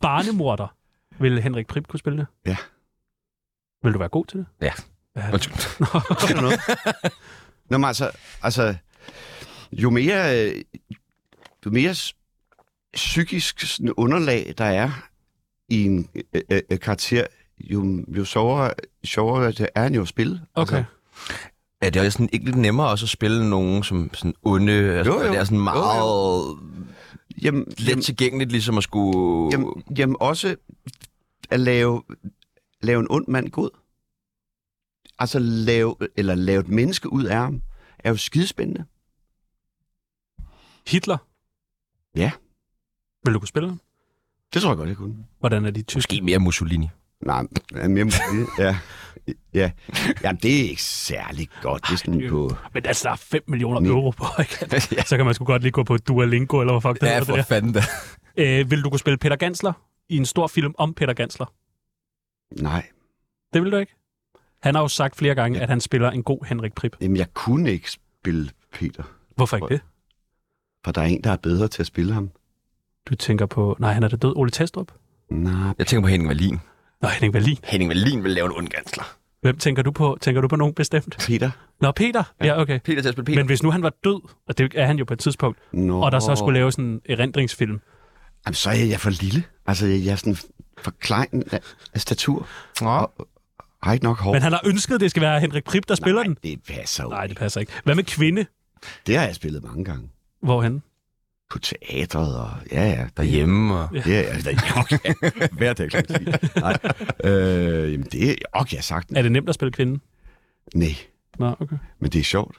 [SPEAKER 3] Barnemorder. Vil Henrik Prip kunne spille det?
[SPEAKER 2] Ja.
[SPEAKER 3] Vil du være god til det?
[SPEAKER 1] Ja.
[SPEAKER 3] Ja.
[SPEAKER 1] Undskyld.
[SPEAKER 2] Kan du noget? Nå, men altså, altså, jo mere, øh, jo mere s- psykisk sådan underlag, der er i en øh, øh, øh, karakter, jo, jo sjovere, sjovere det er han jo at spille.
[SPEAKER 3] Okay.
[SPEAKER 1] Ja, det er sådan ikke lidt nemmere også at spille nogen som sådan onde. Altså,
[SPEAKER 2] Jo, jo.
[SPEAKER 1] Det er sådan
[SPEAKER 2] Jo, jo.
[SPEAKER 1] meget
[SPEAKER 2] Jamen,
[SPEAKER 1] let tilgængeligt, ligesom at skulle...
[SPEAKER 2] jamen, jamen også at lave, lave en ond mand god. Altså lave, eller lave et menneske ud af ham, er jo skidespændende.
[SPEAKER 3] Hitler.
[SPEAKER 2] Ja.
[SPEAKER 3] Vil du kunne spille ham?
[SPEAKER 2] Det tror jeg godt, jeg kunne.
[SPEAKER 3] Hvordan er de tyske?
[SPEAKER 1] Måske mere Mussolini.
[SPEAKER 2] Nej, men mere musik. ja. Ja. Jamen, det er ikke særlig godt, hvis
[SPEAKER 3] det er
[SPEAKER 2] den
[SPEAKER 3] jo-
[SPEAKER 2] på...
[SPEAKER 3] Men altså, der er 5 millioner
[SPEAKER 2] Ni.
[SPEAKER 3] euro på, ikke? Så kan man sgu godt lige gå på Duolingo, eller hvad fuck det
[SPEAKER 1] Ja,
[SPEAKER 3] hedder
[SPEAKER 1] for
[SPEAKER 3] det der.
[SPEAKER 1] fanden da.
[SPEAKER 3] Øh, vil du kunne spille Peter Gansler i en stor film om Peter Gansler?
[SPEAKER 2] Nej,
[SPEAKER 3] Det vil du ikke? Han har jo sagt flere gange, at han spiller en god Henrik Prip.
[SPEAKER 2] jamen, jeg kunne ikke spille Peter,
[SPEAKER 3] Hvorfor ikke det?
[SPEAKER 2] for der er en, der er bedre til at spille ham.
[SPEAKER 3] Du tænker på... Nej, han er da død. Ole Testrup?
[SPEAKER 2] Nej,
[SPEAKER 1] Jeg tænker på Henning Wallin.
[SPEAKER 3] Nej, Henning Berlin.
[SPEAKER 1] Henning Wallin vil lave en ond gansler.
[SPEAKER 3] Hvem tænker du på? Tænker du på nogen bestemt?
[SPEAKER 2] Peter?
[SPEAKER 3] Nå, Peter. Ja, okay.
[SPEAKER 1] Peter til at spille Peter.
[SPEAKER 3] Men hvis nu han var død, og det er han jo på et tidspunkt,
[SPEAKER 2] Nå.
[SPEAKER 3] og der så skulle laves en erindringsfilm.
[SPEAKER 2] Jamen, så er jeg, jeg er for lille. Altså, jeg, jeg er sådan for klein af, af statur. Og, og har ikke nok hår.
[SPEAKER 3] Men han har ønsket, at det skal være Henrik Prip, der spiller
[SPEAKER 2] Nej,
[SPEAKER 3] den.
[SPEAKER 2] det passer jo.
[SPEAKER 3] Nej,
[SPEAKER 2] Nej.
[SPEAKER 3] det passer ikke. Hvad med kvinde?
[SPEAKER 2] Det har jeg spillet mange gange.
[SPEAKER 3] Hvorhen?
[SPEAKER 2] På teatret og... Ja, ja.
[SPEAKER 1] Derhjemme og...
[SPEAKER 2] Ja, altså, ja. ja. Hver dag klokken ti. Nej. Øh, jamen, det er... Og jeg sagt.
[SPEAKER 3] Er det nemt at spille kvinde?
[SPEAKER 2] Nej.
[SPEAKER 3] Nå, okay.
[SPEAKER 2] Men det er sjovt.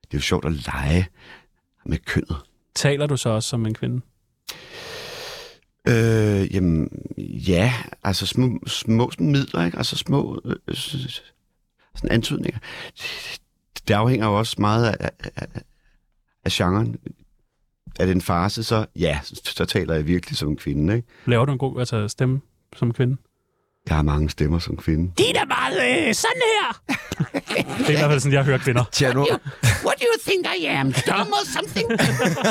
[SPEAKER 2] Det er jo sjovt at lege med kønnet.
[SPEAKER 3] Taler du så også som en kvinde?
[SPEAKER 2] Øh, jamen, ja, altså små, små sådan midler, ikke? Altså små øh, s- s- sådan antydninger. Det afhænger jo også meget af, af, af- af genren. Er det en farse, så ja, så, så taler jeg virkelig som en kvinde, ikke?
[SPEAKER 3] Laver du en god altså, stemme som kvinde?
[SPEAKER 2] Jeg har mange stemmer som kvinde.
[SPEAKER 3] Det er da meget øh, sådan her! det er i hvert fald sådan, jeg hører kvinder.
[SPEAKER 1] Tjerno,
[SPEAKER 2] What do you think I am? Dumb or something?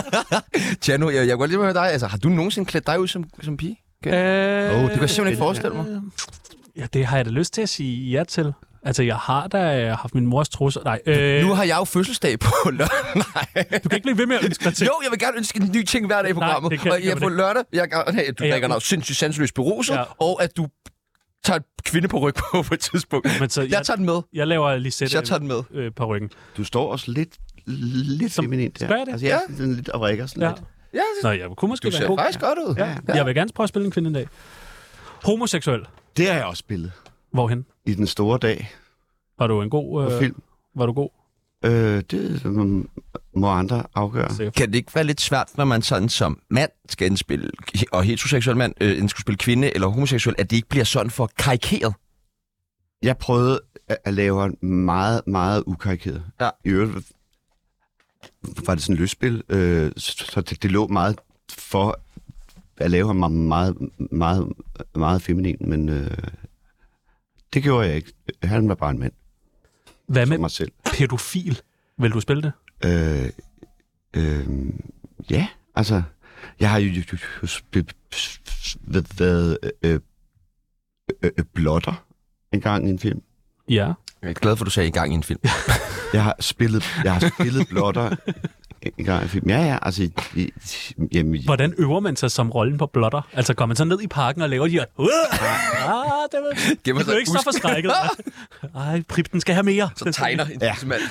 [SPEAKER 1] Tjerno jeg, jeg kunne godt lige med dig. Altså, har du nogensinde klædt dig ud som, som pige? Oh, det
[SPEAKER 3] Øh,
[SPEAKER 1] kan jeg simpelthen ikke forestille mig.
[SPEAKER 3] ja, det har jeg da lyst til at sige ja til. Altså, jeg har da øh, haft min mors trusser. Nej, øh,
[SPEAKER 1] Nu har jeg jo fødselsdag på lørdag. Nej.
[SPEAKER 3] du kan ikke blive ved med at ønske dig til.
[SPEAKER 1] Jo, jeg vil gerne ønske en ny ting hver dag i
[SPEAKER 3] Nej,
[SPEAKER 1] programmet.
[SPEAKER 3] det kan-
[SPEAKER 1] og
[SPEAKER 3] det
[SPEAKER 1] jeg
[SPEAKER 3] kan
[SPEAKER 1] på
[SPEAKER 3] man
[SPEAKER 1] lørdag, jeg gerne have, at du
[SPEAKER 3] Ja,
[SPEAKER 1] drikker
[SPEAKER 3] men-
[SPEAKER 1] noget sindssygt sanseløst beruset,
[SPEAKER 3] Ja.
[SPEAKER 1] ja. og at du tager et kvinde på ryg på på et tidspunkt.
[SPEAKER 3] Men så,
[SPEAKER 1] Jeg tager den med.
[SPEAKER 3] jeg laver Lisette
[SPEAKER 1] Jeg tager den med.
[SPEAKER 3] øh, på ryggen.
[SPEAKER 2] Du står også lidt, lidt
[SPEAKER 3] Som-
[SPEAKER 2] som, feminint der.
[SPEAKER 3] Gør jeg det?
[SPEAKER 2] Altså, jeg er sådan lidt og rækker sådan
[SPEAKER 3] Ja.
[SPEAKER 2] lidt.
[SPEAKER 1] Ja,
[SPEAKER 3] Nå, jeg kunne måske
[SPEAKER 1] du
[SPEAKER 3] være
[SPEAKER 1] ser
[SPEAKER 3] en god.
[SPEAKER 1] faktisk godt ud.
[SPEAKER 3] Ja. Ja. Jeg vil gerne prøve at spille en kvinde en dag. Homoseksuel.
[SPEAKER 2] Det har jeg også spillet
[SPEAKER 3] Hvorhen?
[SPEAKER 2] i den store dag
[SPEAKER 3] Var du en god...
[SPEAKER 2] på
[SPEAKER 3] Øh,
[SPEAKER 2] film.
[SPEAKER 3] var du god?
[SPEAKER 2] Øh, det mm, må andre afgøre.
[SPEAKER 3] Sikkert.
[SPEAKER 1] Kan det ikke være lidt svært, når man sådan som mand skal indspille, og heteroseksuel mand, øh, enten skulle spille kvinde eller homoseksuel, at det ikke bliver sådan for karikeret?
[SPEAKER 2] Jeg prøvede at, at lave en meget, meget ukarikeret.
[SPEAKER 1] Ja.
[SPEAKER 2] I øvrigt var det sådan et løsspil, øh, så så det, det lå meget for at lave ham meget, meget, meget, meget feminin, men øh, det gjorde jeg ikke. Han var bare en mand,
[SPEAKER 3] Hvad
[SPEAKER 2] som
[SPEAKER 3] med
[SPEAKER 2] mig selv.
[SPEAKER 3] pædofil? Vil du spille det?
[SPEAKER 2] Øh, øh, ja, altså, jeg har jo, jo, jo, jo sp- sp- været- været øh, øh, øh, blotter en gang i en film.
[SPEAKER 3] Ja.
[SPEAKER 1] Jeg er glad for, at du sagde i gang i en film.
[SPEAKER 2] Jeg har spillet, jeg har spillet blotter en gang i en film. Ja, ja, altså, i- jamen,
[SPEAKER 3] Hvordan øver man sig som rollen på blotter? Altså, går man så ned i parken og laver de her... "Uah!" Ah, det var...
[SPEAKER 1] Gemmer
[SPEAKER 3] Det
[SPEAKER 1] sig
[SPEAKER 3] blev ikke så
[SPEAKER 1] i busken.
[SPEAKER 3] forskrækket. Ej, Prip, den skal have mere.
[SPEAKER 1] Så tegner en
[SPEAKER 2] Ja.
[SPEAKER 1] ja. mand.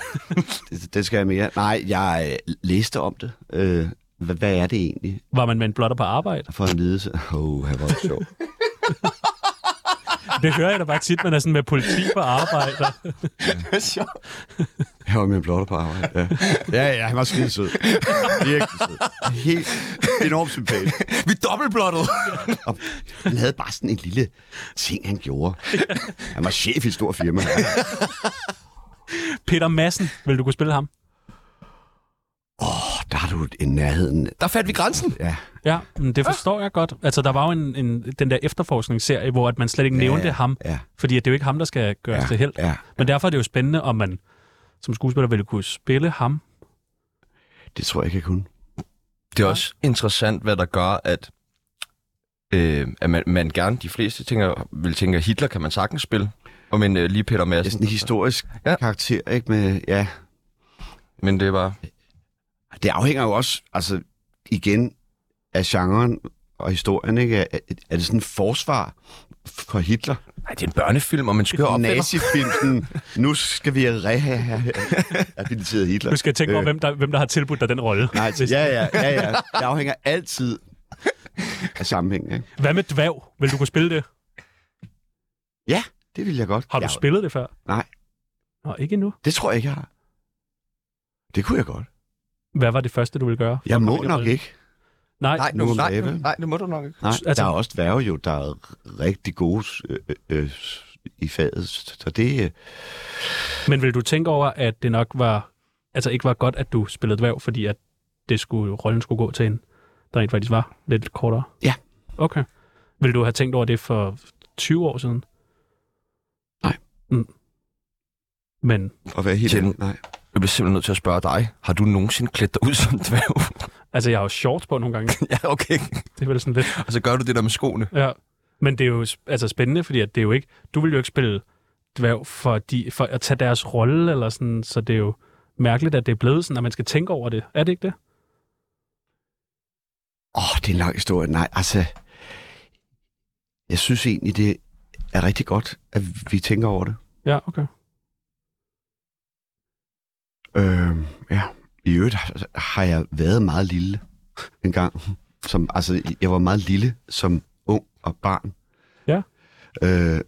[SPEAKER 2] det, det skal jeg mere. Nej, jeg øh, læste om det. Øh, hvad, hvad er det egentlig
[SPEAKER 3] Var man med en blotter på arbejde?
[SPEAKER 2] for en lidelse? Åh, oh, hvor sjovt.
[SPEAKER 3] Det hører jeg da bare tit, man er sådan med politi på arbejde.
[SPEAKER 2] Jeg var med en blotter på arbejde, ja. Ja, ja, han var skide sød. Virkelig sød. Helt enormt sympatisk.
[SPEAKER 1] Vi er dobbeltblottet.
[SPEAKER 2] Og han havde bare sådan en lille ting, han gjorde. Han var chef i et stort firma.
[SPEAKER 3] Peter Madsen, vil du kunne spille ham?
[SPEAKER 2] Åh, der er du i nærheden.
[SPEAKER 1] Der fandt vi grænsen.
[SPEAKER 2] Ja,
[SPEAKER 3] Ja, men det forstår jeg godt. Altså, der var jo en, en, den der efterforskningsserie, hvor at man slet ikke ja, nævnte ham,
[SPEAKER 2] ja.
[SPEAKER 3] fordi at det er jo ikke ham, der skal gøres
[SPEAKER 2] Ja,
[SPEAKER 3] til held.
[SPEAKER 2] ja.
[SPEAKER 3] Men derfor er det jo spændende, om man som skuespiller ville kunne spille ham.
[SPEAKER 2] Det tror jeg ikke, jeg kunne.
[SPEAKER 1] Det er også interessant, hvad der gør, at, øh, at man, man gerne, de fleste tænker, vil tænke, at Hitler kan man sagtens spille. Og men øh, lige Peter
[SPEAKER 2] Det er
[SPEAKER 1] Madsen.
[SPEAKER 2] sådan en historisk
[SPEAKER 1] Ja.
[SPEAKER 2] ja. karakter, ikke? Med, ja.
[SPEAKER 1] Men det er bare...
[SPEAKER 2] Det afhænger jo også, altså igen, af genren og historien, ikke? Er, er- er det sådan en forsvar for Hitler?
[SPEAKER 1] Nej, det er en børnefilm, og man skør op.
[SPEAKER 2] Nazifilm, sådan, nu skal vi have rehabiliteret Hitler.
[SPEAKER 3] Du skal tænke over,
[SPEAKER 2] Øh,
[SPEAKER 3] hvem der, hvem der har tilbudt dig den rolle.
[SPEAKER 2] Nej, ja, ja, ja, ja. Det afhænger altid af sammenhæng, ikke?
[SPEAKER 3] Hvad med dværg? Vil du kunne spille det?
[SPEAKER 2] Ja, det vil jeg godt.
[SPEAKER 3] Har du
[SPEAKER 2] ja,
[SPEAKER 3] spillet det før?
[SPEAKER 2] Nej.
[SPEAKER 3] Nå, ikke endnu.
[SPEAKER 2] Det tror jeg ikke, jeg har. Det kunne jeg godt.
[SPEAKER 3] Hvad var det første, du ville gøre? for
[SPEAKER 2] Jeg
[SPEAKER 3] at
[SPEAKER 2] må
[SPEAKER 3] komme ind i
[SPEAKER 2] nok
[SPEAKER 3] rollen?
[SPEAKER 2] ikke.
[SPEAKER 3] Nej,
[SPEAKER 1] Nej,
[SPEAKER 2] Nu
[SPEAKER 1] nu,
[SPEAKER 2] må
[SPEAKER 1] nej,
[SPEAKER 2] man lave.
[SPEAKER 1] nej, det må du nok ikke.
[SPEAKER 2] Nej,
[SPEAKER 3] Altså-
[SPEAKER 2] altså, der er også dværge jo, der er rigtig gode øh, øh, i faget. Så det, øh,
[SPEAKER 3] men vil du tænke over, at det nok var, altså ikke var godt, at du spillede dværg, fordi at det skulle, rollen skulle gå til en, der rent faktisk var lidt kortere?
[SPEAKER 2] Ja.
[SPEAKER 3] Okay. Vil du have tænkt over det for 20 år siden?
[SPEAKER 2] Nej.
[SPEAKER 3] Mm. Men
[SPEAKER 2] at være helt
[SPEAKER 1] Tjen-
[SPEAKER 2] ærlig, nej.
[SPEAKER 1] Jeg bliver simpelthen nødt til at spørge dig. Har du nogensinde klædt dig ud som dværg?
[SPEAKER 3] altså, jeg har jo shorts på nogle gange.
[SPEAKER 1] ja, okay.
[SPEAKER 3] Det er vel sådan lidt...
[SPEAKER 1] Og så gør du det der med skoene.
[SPEAKER 3] Ja. Men det er jo sp- altså spændende, fordi at det er jo ikke... Du vil jo ikke spille dværg for, de, for at tage deres rolle, eller sådan, så det er jo mærkeligt, at det er blevet sådan, at man skal tænke over det. Er det ikke det?
[SPEAKER 2] Åh, oh, det er en lang historie. Nej, altså... Jeg synes egentlig, det er rigtig godt, at vi tænker over det.
[SPEAKER 3] Ja, okay.
[SPEAKER 2] Øh, ja. I øvrigt har- har jeg været meget lille en gang. Som, altså, jeg var meget lille som ung og barn.
[SPEAKER 3] Ja.
[SPEAKER 2] Øh,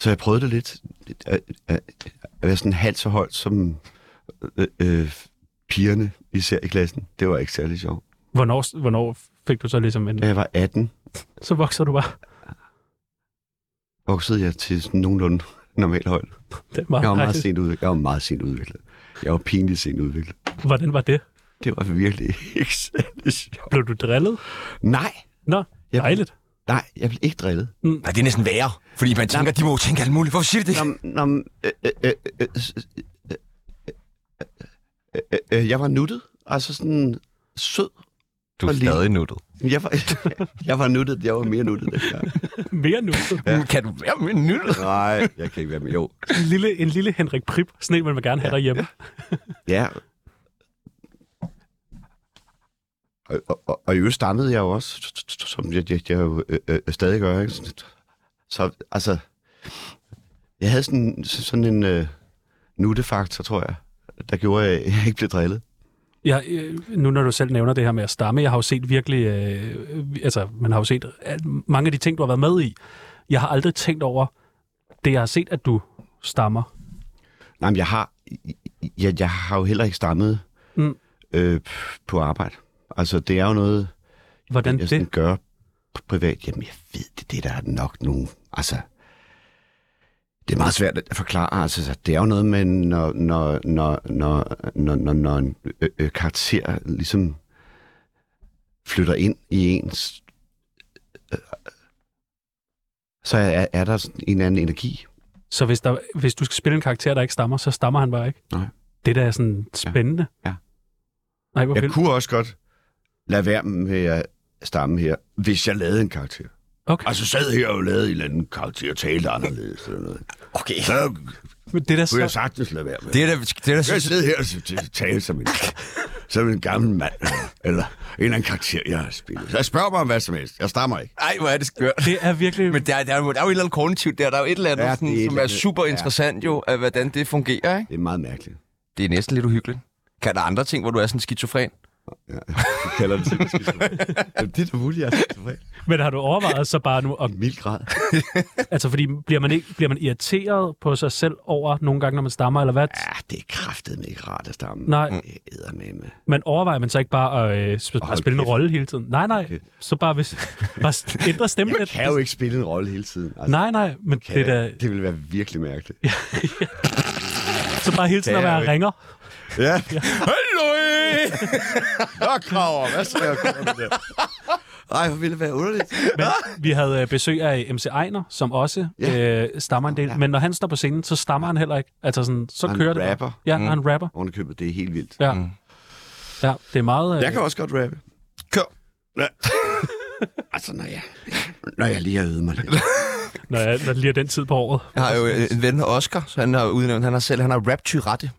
[SPEAKER 2] så jeg prøvede det lidt. At, at, at være sådan halvt så højt som øh, øh, pigerne, især i klassen. Det var ikke særlig sjovt.
[SPEAKER 3] Hvornår, hvornår fik du så ligesom en...
[SPEAKER 2] Da jeg var 18,
[SPEAKER 3] Så vokser du bare.
[SPEAKER 2] voksede jeg til sådan nogenlunde normal højde.
[SPEAKER 3] Det er meget,
[SPEAKER 2] Jeg var meget
[SPEAKER 3] dejligt.
[SPEAKER 2] sent udviklet. Jeg var meget sent udviklet. Jeg var pinligt sent udviklet.
[SPEAKER 3] Hvordan var det?
[SPEAKER 2] Det var virkelig ikke særlig sjovt.
[SPEAKER 3] Blev du drillet?
[SPEAKER 2] Nej,
[SPEAKER 3] Nå,
[SPEAKER 2] Jeg-
[SPEAKER 3] dejligt.
[SPEAKER 2] nej, jeg blev ikke drillet.
[SPEAKER 1] Nej, det er næsten værre. Fordi man tænker, de må jo tænke alt muligt. Hvorfor siger de det?
[SPEAKER 2] Nå, nå, øh, øh, øh, øh, s- øh, øh, øh, øh, jeg var nuttet. Altså sådan sød.
[SPEAKER 1] Du
[SPEAKER 2] er
[SPEAKER 1] er
[SPEAKER 2] lige-
[SPEAKER 1] stadig nuttet.
[SPEAKER 2] Jeg var, jeg var nuttet. Jeg var mere nuttet. dengang.
[SPEAKER 3] Mere nu.
[SPEAKER 1] Ja. Kan du være med nuttet?
[SPEAKER 2] Nej, jeg kan ikke være med. Jo.
[SPEAKER 3] En lille, en lille Henrik Prip. Sådan en vil man gerne have derhjemme.
[SPEAKER 2] Ja. Og, og, og, og i øvrigt stammede jeg jo også, som jeg, jeg, jeg jo øh, øh, stadig gør. Ikke? Så- Så altså, jeg havde sådan, sådan en øh, nuttefaktor, tror jeg, der gjorde, at jeg ikke blev drillet.
[SPEAKER 3] Jeg, øh, nu når du selv nævner det her med at stamme, jeg har jo set virkelig, øh, øh, altså man har jo set at mange af de ting, du har været med i. Jeg har aldrig tænkt over det, jeg har set, at du stammer.
[SPEAKER 2] Nej, men jeg har, jeg, jeg har jo heller ikke stammet
[SPEAKER 3] Mm.
[SPEAKER 2] mm. øh, på arbejde. Altså, det er jo noget,
[SPEAKER 3] Hvordan
[SPEAKER 2] jeg sådan
[SPEAKER 3] det?
[SPEAKER 2] gør p- privat. Jamen, jeg ved det, det er der er nok nu. Altså, det er meget svært at forklare. Altså, så det er jo noget med, når, når, når, når, når, når, når en øh, øh, karakter ligesom flytter ind i ens... Øh, så er, er der sådan en anden energi.
[SPEAKER 3] Så hvis, der, hvis du skal spille en karakter, der ikke stammer, så stammer han bare ikke?
[SPEAKER 2] Nej.
[SPEAKER 3] Det der er sådan spændende.
[SPEAKER 2] Ja.
[SPEAKER 3] Nej, hvor
[SPEAKER 2] Jeg
[SPEAKER 3] vildt.
[SPEAKER 2] kunne også godt lade være med at stamme her, hvis jeg lavede en karakter.
[SPEAKER 3] Okay.
[SPEAKER 2] Altså sad her og lavede en eller anden karakter og talte anderledes eller noget.
[SPEAKER 1] Okay.
[SPEAKER 2] Så
[SPEAKER 3] Men det der
[SPEAKER 2] kunne jeg
[SPEAKER 3] så,
[SPEAKER 2] sagtens lade være med.
[SPEAKER 1] Det er da... Det er da
[SPEAKER 2] Jeg kan sidde her og t- t- tale som en, som en gammel mand, eller en eller anden karakter, jeg har spillet. Så jeg spørger mig om hvad som helst. Jeg stammer ikke.
[SPEAKER 1] Ej, hvor er det skørt.
[SPEAKER 3] det er virkelig...
[SPEAKER 1] Men der, er- der, er jo, der er jo et eller andet kognitivt der. Der er jo et eller andet,
[SPEAKER 2] Ja,
[SPEAKER 1] ja,
[SPEAKER 2] det er
[SPEAKER 1] sådan,
[SPEAKER 2] et
[SPEAKER 1] som
[SPEAKER 2] eller
[SPEAKER 1] er
[SPEAKER 2] andet.
[SPEAKER 1] super interessant jo, af hvordan det fungerer. Ikke?
[SPEAKER 2] Det er meget mærkeligt.
[SPEAKER 1] Det er næsten lidt uhyggeligt. Kan der andre ting, hvor du er sådan skizofren?
[SPEAKER 2] Du kalder det til skizofren. Jamen, det er da muligt, jeg er skizofren.
[SPEAKER 3] Men har du overvejet så bare nu, om,
[SPEAKER 2] I mild grad.
[SPEAKER 3] altså fordi bliver man, ikke, bliver man irriteret på sig selv over nogle gange, når man stammer, eller hvad?
[SPEAKER 2] Ja, Mm. det er kraftedeme ikke rart at stamme.
[SPEAKER 3] Nej.
[SPEAKER 2] Det æder med med.
[SPEAKER 3] Men overvejer man så ikke bare at øh, sp- bare
[SPEAKER 2] Hold
[SPEAKER 3] spille en
[SPEAKER 2] kæft.
[SPEAKER 3] rolle hele tiden? Nej, nej. Så bare, hvis, bare s- ændre stemmen
[SPEAKER 2] Jeg
[SPEAKER 3] lidt.
[SPEAKER 2] kan jo ikke spille en rolle hele tiden. Altså,
[SPEAKER 3] Nej, nej, men
[SPEAKER 2] kan
[SPEAKER 3] det er
[SPEAKER 2] jeg-
[SPEAKER 3] da,
[SPEAKER 2] det ville være virkelig mærkeligt.
[SPEAKER 3] så bare hele tiden
[SPEAKER 2] Kan
[SPEAKER 3] at
[SPEAKER 2] jeg jo
[SPEAKER 3] være
[SPEAKER 2] ikke.
[SPEAKER 3] ringer.
[SPEAKER 2] Ja. Hallo! Nå, Krager, hvad skal jeg gøre med det? Ej, hvor ville det være underligt.
[SPEAKER 3] Men vi havde øh, besøg af MC Ejner, som også ja. øh, stammer en del. Ja. Men når han står på scenen, så stammer han heller ikke. Altså sådan, så
[SPEAKER 2] Han
[SPEAKER 3] kører det. bare.
[SPEAKER 2] rapper.
[SPEAKER 3] Ja, mm. han rapper.
[SPEAKER 2] Ovenikøbet, det er helt vildt.
[SPEAKER 3] Ja. Mm. ja, det er meget... Øh,
[SPEAKER 2] Jeg kan også godt rappe.
[SPEAKER 1] Kør.
[SPEAKER 2] Ja. altså, når jeg, når jeg lige har øvet mig lidt.
[SPEAKER 3] når, jeg, når det lige er den tid på året.
[SPEAKER 1] Jeg har jo øh, en ven, Oscar, så han har udnævnt, han har selv, han har rap tyrette.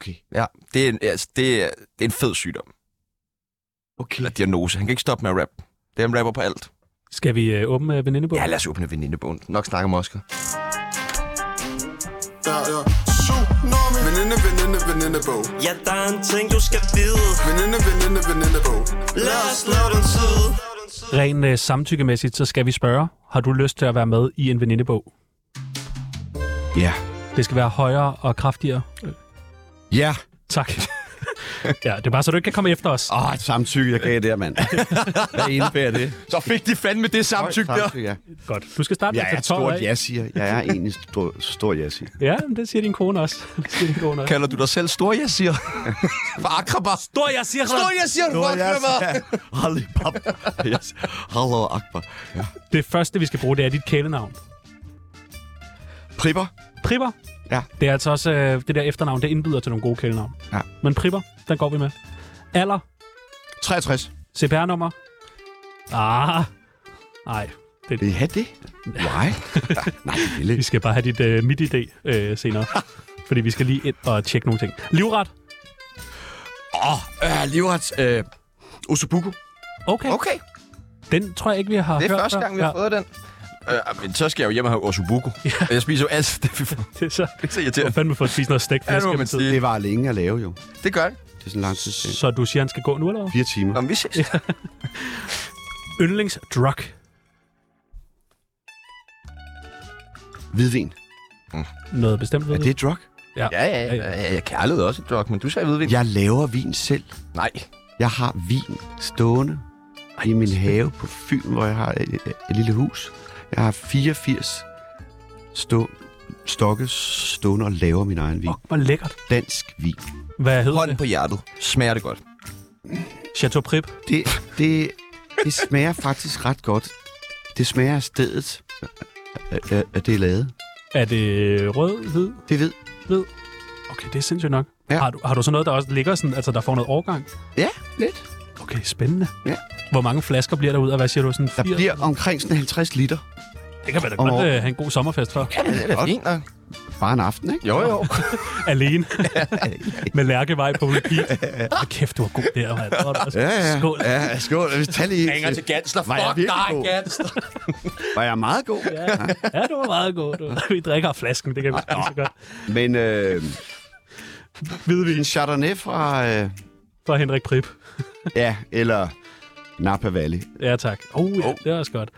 [SPEAKER 2] Okay.
[SPEAKER 1] Ja, det er, en, altså, det, er, det er en fed sygdom,
[SPEAKER 2] Okay.
[SPEAKER 1] eller diagnose. Han kan ikke stoppe med at rap. Det er en rapper på alt.
[SPEAKER 3] Skal vi øh, åbne øh, venindebogen?
[SPEAKER 1] Ja, lad os åbne venindebogen. Nok snakke om Oscar.
[SPEAKER 9] Ja, ja. Tsunami. Veninde, veninde, venindebog.
[SPEAKER 5] Ja, der er en ting, du skal vide.
[SPEAKER 9] Veninde, veninde, venindebog.
[SPEAKER 5] Lad os lave den tid.
[SPEAKER 3] Ren øh, samtykkemæssigt, så skal vi spørge, har du lyst til at være med i en venindebog?
[SPEAKER 2] Ja.
[SPEAKER 3] Det skal være højere og kraftigere.
[SPEAKER 2] Ja.
[SPEAKER 3] Tak. ja, det er bare, så du ikke kan komme efter os.
[SPEAKER 2] Åh, et samtykke, jeg gav der, mand. Hvad indebærer det?
[SPEAKER 1] Så fik de fandme det samtykke der.
[SPEAKER 2] Altså, ja.
[SPEAKER 3] Godt. Du skal starte med
[SPEAKER 2] Jeg
[SPEAKER 3] at
[SPEAKER 2] er
[SPEAKER 3] tage
[SPEAKER 2] et
[SPEAKER 3] 12 af.
[SPEAKER 2] stort ja-siger. Jeg er egentlig en stor, stor ja-siger.
[SPEAKER 3] Ja, men det siger din kone også. Det siger din kone også.
[SPEAKER 1] Kalder du dig selv stor, jeg siger? For akrabar.
[SPEAKER 3] Stor, jeg siger
[SPEAKER 1] Stor, jeg siger, du fuck med mig.
[SPEAKER 2] Hallo, pap. Yes. Hallo, Akbar. Ja.
[SPEAKER 3] Det første, vi skal bruge, det er dit kælenavn.
[SPEAKER 2] Pripper.
[SPEAKER 3] Pripper.
[SPEAKER 2] Ja.
[SPEAKER 3] Det er altså også øh, det der efternavn, det indbyder til nogle gode kælenavn.
[SPEAKER 2] Ja.
[SPEAKER 3] Men Pripper, den går vi med. Alder,
[SPEAKER 2] 63.
[SPEAKER 3] CPR-nummer. Ah, nej.
[SPEAKER 2] Vil I have det? Nej. Nej, det vil
[SPEAKER 3] Vi
[SPEAKER 2] ikke.
[SPEAKER 3] skal bare have dit øh, midt-idé øh, senere. Fordi vi skal lige ind og tjekke nogle ting. Livret.
[SPEAKER 2] Åh, øh, livrets. Øh, Osubuku.
[SPEAKER 3] Okay.
[SPEAKER 1] Okay,
[SPEAKER 3] Den tror jeg ikke, vi har
[SPEAKER 1] det er
[SPEAKER 3] hørt
[SPEAKER 1] første
[SPEAKER 3] før.
[SPEAKER 1] gang, vi har fået den. Øh, men så skal jeg jo hjem og have ossobuco. Jeg spiser jo alt det, vi får.
[SPEAKER 3] Det er så...
[SPEAKER 1] Det er så
[SPEAKER 3] Du har
[SPEAKER 1] irriterende.
[SPEAKER 3] fandme fået spist noget stegt
[SPEAKER 1] Ja, det
[SPEAKER 3] fisk.
[SPEAKER 1] må
[SPEAKER 3] gennem
[SPEAKER 1] man
[SPEAKER 3] tiden.
[SPEAKER 1] sige.
[SPEAKER 2] Det var længe at lave, jo.
[SPEAKER 1] Det gør det.
[SPEAKER 2] Det er sådan en lang tid. til.
[SPEAKER 3] Så du siger, han skal gå nu, eller hvad?
[SPEAKER 2] Fire timer.
[SPEAKER 1] Nå, men vi ses.
[SPEAKER 3] Yndlingsdrug.
[SPEAKER 2] Hvidvin.
[SPEAKER 3] Noget bestemt ved
[SPEAKER 2] Er det et drug?
[SPEAKER 1] Ja, ja, ja. ja, ja kærlighed også, et drug, men du sagde hvidvin.
[SPEAKER 2] Jeg laver vin selv.
[SPEAKER 1] Nej.
[SPEAKER 2] Jeg har vin stående i min have på Fyn, hvor jeg har et, et, et lille hus. Jeg har 84 stå, stokke stående og laver min egen vin.
[SPEAKER 3] Fuck, hvor lækkert.
[SPEAKER 2] Dansk vin.
[SPEAKER 3] Hvad hedder
[SPEAKER 1] Hånden
[SPEAKER 3] det?
[SPEAKER 1] på hjertet. Smager det godt.
[SPEAKER 3] Chateau Prip.
[SPEAKER 2] Det, det, det smager faktisk ret godt. Det smager af stedet, at- at at det er lavet.
[SPEAKER 3] Er det rød, hvid,
[SPEAKER 2] Det ved
[SPEAKER 3] hvid? Okay, det er sindssygt nok. Ja.
[SPEAKER 2] Ja.
[SPEAKER 3] Har, du, har du så noget, der også ligger sådan, altså der får noget overgang?
[SPEAKER 2] Ja, lidt.
[SPEAKER 3] Okay, spændende.
[SPEAKER 2] Ja.
[SPEAKER 3] Hvor mange flasker bliver der ud af, hvad siger du, sådan
[SPEAKER 2] Der
[SPEAKER 3] fire?
[SPEAKER 2] bliver omkring sådan 50 liter.
[SPEAKER 3] Det kan man da
[SPEAKER 2] om
[SPEAKER 3] godt
[SPEAKER 2] året.
[SPEAKER 3] øh, have en god sommerfest for.
[SPEAKER 1] Ja, det er da fint nok.
[SPEAKER 2] Bare en aften, ikke?
[SPEAKER 1] Jo, jo.
[SPEAKER 3] Alene. Med lærkevej på repeat. Hvor kæft, du er god der, mand. Hvor er du også- Skål.
[SPEAKER 2] Ja, skål. Tag lige.
[SPEAKER 1] Ringer til Gansler.
[SPEAKER 2] Var jeg
[SPEAKER 1] Fuck
[SPEAKER 2] virkelig
[SPEAKER 1] dig,
[SPEAKER 2] god?
[SPEAKER 1] Gansler.
[SPEAKER 2] Var jeg meget god? Ja.
[SPEAKER 3] Ja, du var meget god. Du. Vi drikker af flasken, det kan
[SPEAKER 2] Ah,
[SPEAKER 3] vi ikke så godt.
[SPEAKER 2] Men øh,
[SPEAKER 3] Hvidvin
[SPEAKER 2] en Chardonnay fra... Øh,
[SPEAKER 3] fra Henrik Prip.
[SPEAKER 2] Ja, eller Napa Valley.
[SPEAKER 3] Ja, tak. Oh, ja, det er også godt.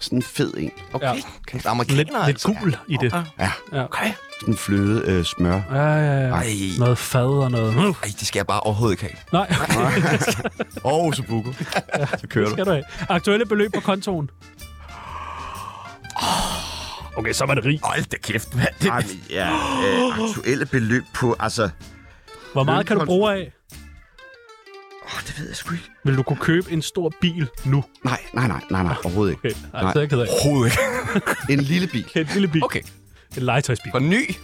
[SPEAKER 2] Sådan en fed en.
[SPEAKER 1] Okay. Kæft, amerikaner,
[SPEAKER 3] Lidt, lidt gul i det.
[SPEAKER 2] Ja.
[SPEAKER 1] Okay.
[SPEAKER 2] Sådan en fløde øh, smør.
[SPEAKER 3] Ja, ja, ja.
[SPEAKER 1] Ej.
[SPEAKER 3] Noget fad og noget... Uh,
[SPEAKER 1] Ej, det skal jeg bare overhovedet ikke have.
[SPEAKER 3] nej,
[SPEAKER 2] Og så buko. Så kører
[SPEAKER 3] det skal du have. Aktuelle beløb på kontoen.
[SPEAKER 2] Ah.
[SPEAKER 3] Okay, så var det rig.
[SPEAKER 1] Hold da kæft, mand. Det,
[SPEAKER 2] Ej, men, ja, øh, aktuelle beløb på, altså...
[SPEAKER 3] Hvor meget kan du
[SPEAKER 2] Lønkonto.
[SPEAKER 3] bruge af?
[SPEAKER 2] Åh, det ved jeg sgu ikke.
[SPEAKER 3] Vil du kunne købe en stor bil nu?
[SPEAKER 2] Nej, nej, nej, nej, nej, overhovedet ikke.
[SPEAKER 3] Okay, nej,
[SPEAKER 2] Nej.
[SPEAKER 3] så er jeg ked af.
[SPEAKER 1] overhovedet ikke.
[SPEAKER 2] En lille bil.
[SPEAKER 3] En lille bil.
[SPEAKER 1] Okay,
[SPEAKER 3] En legetøjsbil.
[SPEAKER 1] for ny.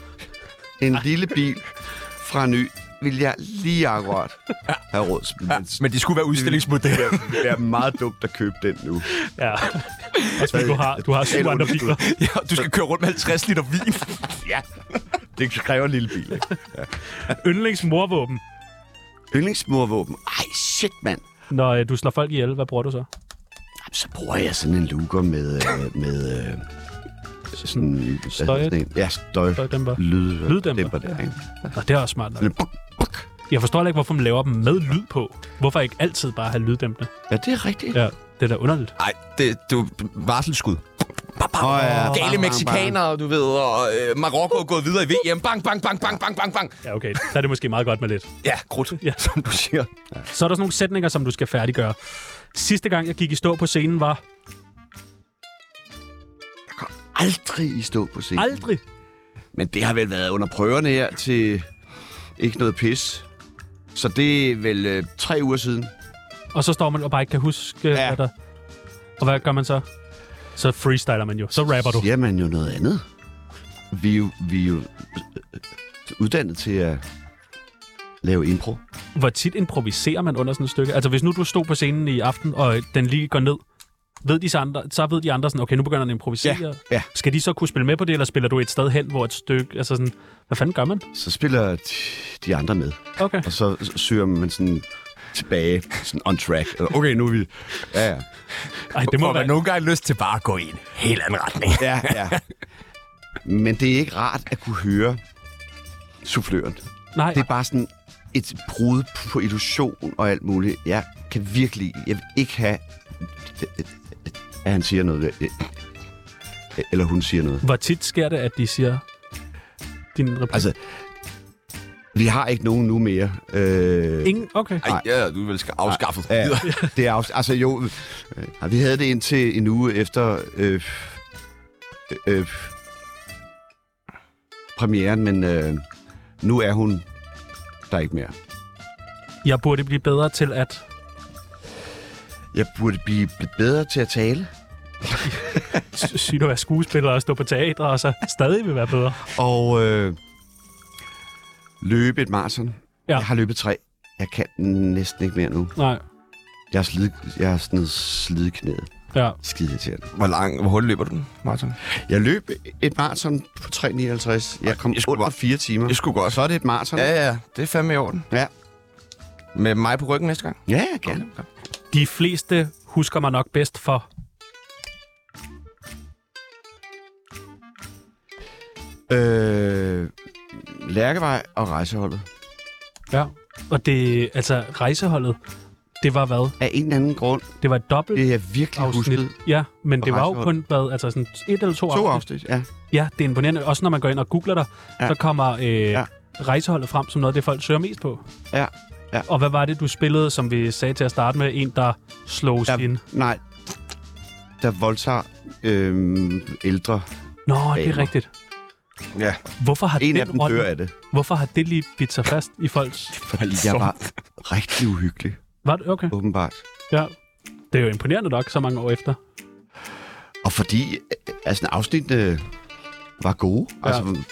[SPEAKER 2] En lille bil fra ny vil jeg lige akkurat have råd til. Men
[SPEAKER 1] Men det skulle være udstillingsmodel.
[SPEAKER 2] det er meget dumt at købe den nu.
[SPEAKER 3] Ja. Også fordi du har, du har syv
[SPEAKER 2] Totalt
[SPEAKER 3] andre biler.
[SPEAKER 1] ja, du skal køre rundt med 50 liter vin.
[SPEAKER 2] Ja, det kræver en lille bil, ikke?
[SPEAKER 3] Yndlingsmorvåben.
[SPEAKER 2] Yndlingsmurvåben. Ej, shit, mand.
[SPEAKER 3] Når øh, du slår folk ihjel, hvad bruger du så?
[SPEAKER 2] Jamen, så bruger jeg sådan en luger med... Øh, med øh, sådan, hvad hedder
[SPEAKER 3] Støj-
[SPEAKER 2] sådan en? Ja, støj.
[SPEAKER 3] Støjdæmper.
[SPEAKER 2] Lyd,
[SPEAKER 3] Lyddæmper,
[SPEAKER 2] dæmper der, ikke?
[SPEAKER 3] Nå, det er også smart nok.
[SPEAKER 2] Sådan en buk, buk.
[SPEAKER 3] jeg forstår heller ikke, hvorfor man laver dem med lyd på. Hvorfor ikke altid bare have lyddæmpende?
[SPEAKER 2] Ja, det er rigtigt.
[SPEAKER 3] Ja, det er da underligt.
[SPEAKER 1] Nej, det, du varselskud. Bam, bam.
[SPEAKER 2] Åh, ja. Bang,
[SPEAKER 1] Gale
[SPEAKER 2] bang,
[SPEAKER 1] mexikanere, du ved, og øh, Marokko er gået videre i VM. Bang, bang, bang, bang, bang, bang, bang.
[SPEAKER 3] Ja, okay. Der er det måske meget godt med lidt.
[SPEAKER 1] Ja, krudt, ja.
[SPEAKER 3] Ja.
[SPEAKER 1] som du siger.
[SPEAKER 3] Så er der sådan nogle sætninger, som du skal færdiggøre. Sidste gang, jeg gik i stå på scenen, var
[SPEAKER 2] Aldrig i stå på scenen.
[SPEAKER 3] aldrig.
[SPEAKER 2] Men det har vel været under prøverne her til ikke noget pis. Så det er vel øh, tre uger siden.
[SPEAKER 3] Og så står man og bare ikke kan huske,
[SPEAKER 2] Ja.
[SPEAKER 3] ja. hvad der... Og hvad gør man så? Så freestyler man jo. Så rapper du.
[SPEAKER 2] Siger man jo noget andet. Vi er jo, vi er jo øh, uddannet til at lave impro.
[SPEAKER 3] Hvor tit improviserer man under sådan et stykke? Altså, hvis nu du stod på scenen i aften, og øh, den lige går ned, ved de så, andre, så ved de andre sådan, okay, nu begynder den at improvisere.
[SPEAKER 2] Ja, ja.
[SPEAKER 3] Skal de så kunne spille med på det, eller spiller du et sted hen, hvor et stykke... Altså sådan, hvad fanden gør man?
[SPEAKER 2] Så spiller de- de andre med,
[SPEAKER 3] Okay.
[SPEAKER 2] og så s- søger man sådan tilbage, sådan on track. Eller, Okay, nu er vi... Ja, ja.
[SPEAKER 3] Ej, det må være...
[SPEAKER 1] nogle gange lyst til bare at gå i en helt anden retning.
[SPEAKER 2] ja, ja. Men det er ikke rart at kunne høre souffløren.
[SPEAKER 3] Nej,
[SPEAKER 2] Det er bare sådan et brud på illusion og alt muligt. Jeg kan virkelig... Jeg vil ikke have, at han siger noget. Eller hun siger noget.
[SPEAKER 3] hvor tit sker det, at de siger din replik?
[SPEAKER 2] Altså, vi har ikke nogen nu mere. Øh,
[SPEAKER 3] Ingen? Okay.
[SPEAKER 1] Ej, ja, du er vel skal afskaffet.
[SPEAKER 2] ja, det er afs- altså jo, øh, nej, vi havde det indtil en uge efter øh, øh, premieren, men øh, nu er hun der ikke mere.
[SPEAKER 3] Jeg burde blive bedre til at...
[SPEAKER 2] Jeg burde blive bedre til at tale.
[SPEAKER 3] sy- sygt at være skuespiller og stå på teater, og så stadig vil være bedre.
[SPEAKER 2] Og øh, løbe et maraton.
[SPEAKER 3] Ja.
[SPEAKER 2] Ja. Jeg har løbet tre. Jeg kan næsten ikke mere nu.
[SPEAKER 3] Nej,
[SPEAKER 2] Jeg har slidt, jeg har sådan slidt knæet.
[SPEAKER 3] ja.
[SPEAKER 2] Skide til
[SPEAKER 1] Hvor lang, hvor hurtigt løber du den, Martin?
[SPEAKER 2] Jeg løb et maraton på 3,59. Jeg kom
[SPEAKER 1] Jeg
[SPEAKER 2] jeg
[SPEAKER 1] skulle
[SPEAKER 2] under
[SPEAKER 1] bare-
[SPEAKER 2] 4 timer.
[SPEAKER 1] Jeg skulle godt.
[SPEAKER 2] Så er det et maraton.
[SPEAKER 1] Ja, ja, det er fandme i orden.
[SPEAKER 2] Ja.
[SPEAKER 1] Med mig på ryggen næste gang.
[SPEAKER 2] ja jeg kan.
[SPEAKER 3] De fleste husker mig nok bedst for...
[SPEAKER 2] Øh, Lærkevej og rejseholdet.
[SPEAKER 3] Ja. Og det, altså rejseholdet, det var hvad?
[SPEAKER 2] Af en eller anden grund,
[SPEAKER 3] Det var et dobbelt
[SPEAKER 2] det er jeg virkelig
[SPEAKER 3] afsnit.
[SPEAKER 2] husket.
[SPEAKER 3] Ja, men det var jo
[SPEAKER 2] Rejseholdet.
[SPEAKER 3] kun hvad, altså sådan et eller to,
[SPEAKER 2] To
[SPEAKER 3] afsnit.
[SPEAKER 2] afsnit, ja.
[SPEAKER 3] Ja, det er imponerende. Også når man går ind og googler dig,
[SPEAKER 2] Ja.
[SPEAKER 3] ja. så kommer øh,
[SPEAKER 2] Ja.
[SPEAKER 3] ja. rejseholdet frem som noget af det, folk søger mest på.
[SPEAKER 2] Ja, ja.
[SPEAKER 3] Og hvad var det, du spillede, som vi sagde til at starte med? En, der slog
[SPEAKER 2] Ja.
[SPEAKER 3] ja. sin...
[SPEAKER 2] Nej, der voldtager øh, ældre.
[SPEAKER 3] Nå, det
[SPEAKER 2] Damer.
[SPEAKER 3] er rigtigt.
[SPEAKER 2] Ja.
[SPEAKER 3] Hvorfor har,
[SPEAKER 2] En
[SPEAKER 3] den
[SPEAKER 2] af dem
[SPEAKER 3] rolle-
[SPEAKER 2] dør af det,
[SPEAKER 3] Hvorfor har det lige bidt sig fast i folks...
[SPEAKER 2] fordi jeg var rigtig uhyggelig,
[SPEAKER 3] Var det? Okay.
[SPEAKER 2] åbenbart.
[SPEAKER 3] Ja. Det er jo imponerende nok, så mange år efter.
[SPEAKER 2] Og fordi øh, altså, afsnittene var gode, ja.
[SPEAKER 3] Ja.
[SPEAKER 2] altså,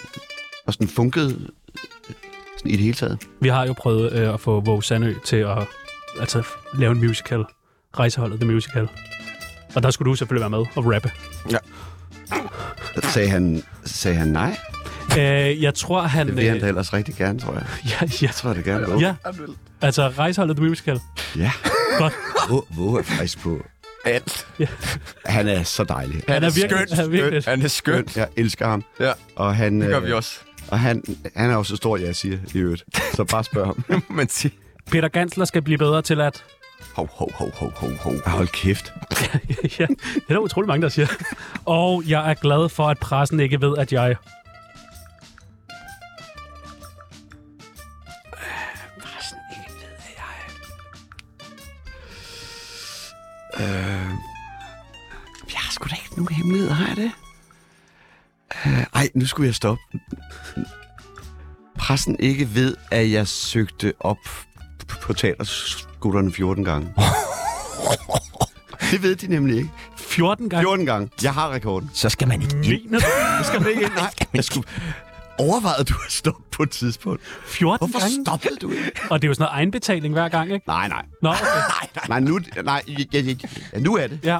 [SPEAKER 2] og sådan funkede øh, sådan i det hele taget.
[SPEAKER 3] Vi har jo prøvet øh, at få Våge Sandø til at altså, f- lave en musical. Rejseholdet The Musical. Og der skulle du selvfølgelig være med og rappe.
[SPEAKER 2] Så sagde han, sagde han nej.
[SPEAKER 3] Øh, jeg tror, han...
[SPEAKER 2] Det vil han
[SPEAKER 3] øh,
[SPEAKER 2] da ellers rigtig gerne, tror jeg.
[SPEAKER 3] ja, ja,
[SPEAKER 2] Jeg tror, det gerne gå.
[SPEAKER 3] ja, altså Rejseholdet The Musical.
[SPEAKER 2] ja.
[SPEAKER 3] Godt.
[SPEAKER 2] Hvor, hvor er faktisk på?
[SPEAKER 1] Alt.
[SPEAKER 2] Han er så dejlig.
[SPEAKER 3] Han er virkelig...
[SPEAKER 1] skønt,
[SPEAKER 3] han er virkelig.
[SPEAKER 1] Han er skøn.
[SPEAKER 2] Jeg elsker ham.
[SPEAKER 1] Ja,
[SPEAKER 2] Og han,
[SPEAKER 1] det gør
[SPEAKER 2] øh,
[SPEAKER 1] vi også.
[SPEAKER 2] Og han, han er jo så stor, jeg siger i øvrigt. Så bare spørg ham.
[SPEAKER 1] Men sig.
[SPEAKER 3] Peter Gansler skal blive bedre til at...
[SPEAKER 1] Hov, hov, hov, hov, hov, hov.
[SPEAKER 2] Ah, Hold kæft.
[SPEAKER 3] ja, det er der utrolig mange, der siger. Og jeg er glad for, at pressen ikke ved, at jeg...
[SPEAKER 2] Øh, Jeg har sgu da ikke nogen hemmeligheder, har jeg det? Øh, Ej, nu skulle jeg stoppe. Pressen ikke ved, at jeg søgte op på teaterskolerne 14 gange. Det ved de nemlig ikke.
[SPEAKER 3] 14 gange...
[SPEAKER 2] 14 gange. Jeg har rekorden.
[SPEAKER 1] Så skal man ikke ind.
[SPEAKER 3] Mener du?
[SPEAKER 2] Skal man ikke ind? Nej. Jeg skulle... Overvejede du at stoppe på et tidspunkt?
[SPEAKER 3] 14
[SPEAKER 2] Hvorfor
[SPEAKER 3] gange?
[SPEAKER 2] stoppede du ikke?
[SPEAKER 3] Og det er jo sådan noget egenbetaling hver gang, ikke?
[SPEAKER 2] Nej, nej.
[SPEAKER 3] Nå, okay.
[SPEAKER 2] Nej, nu, nej, jeg, jeg, jeg, nu er det.
[SPEAKER 3] Ja,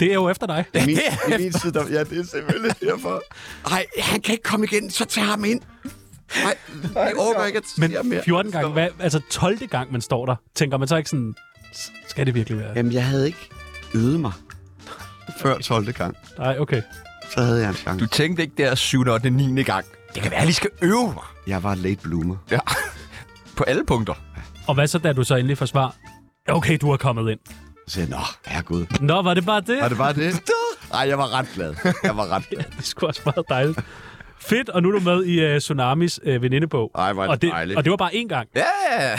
[SPEAKER 3] det er jo efter dig.
[SPEAKER 2] I min, i min tid, der, ja, det er selvfølgelig derfor. Nej, han kan ikke komme igen, så tag ham ind. Nej, jeg overgår ikke at
[SPEAKER 3] Men
[SPEAKER 2] sige mere.
[SPEAKER 3] 14 gange, hvad, altså 12. gang, man står der, tænker man så ikke sådan, "S- skal det virkelig være?
[SPEAKER 2] Jamen, jeg havde ikke øvet mig før 12. gang.
[SPEAKER 3] Nej, okay.
[SPEAKER 2] Så havde jeg en chance.
[SPEAKER 1] Du tænkte ikke der 7. 8. 9. gang. Det kan være, at jeg lige skal øve mig.
[SPEAKER 2] Jeg var late bloomer.
[SPEAKER 1] Ja. På alle punkter.
[SPEAKER 3] Og hvad så, da du så endelig får svar? Okay, du er kommet ind.
[SPEAKER 2] Så jeg, nå, herregud.
[SPEAKER 3] Nå, var det bare det?
[SPEAKER 2] Var det bare det? Nej, jeg var ret glad. Jeg var ret glad.
[SPEAKER 3] Det skulle også meget dejligt. Fedt, og nu er du med i uh, Tsunamis uh, venindebog.
[SPEAKER 2] Ej, hvor er det
[SPEAKER 3] og det,
[SPEAKER 2] dejligt.
[SPEAKER 3] og det var bare én gang,
[SPEAKER 1] Ja!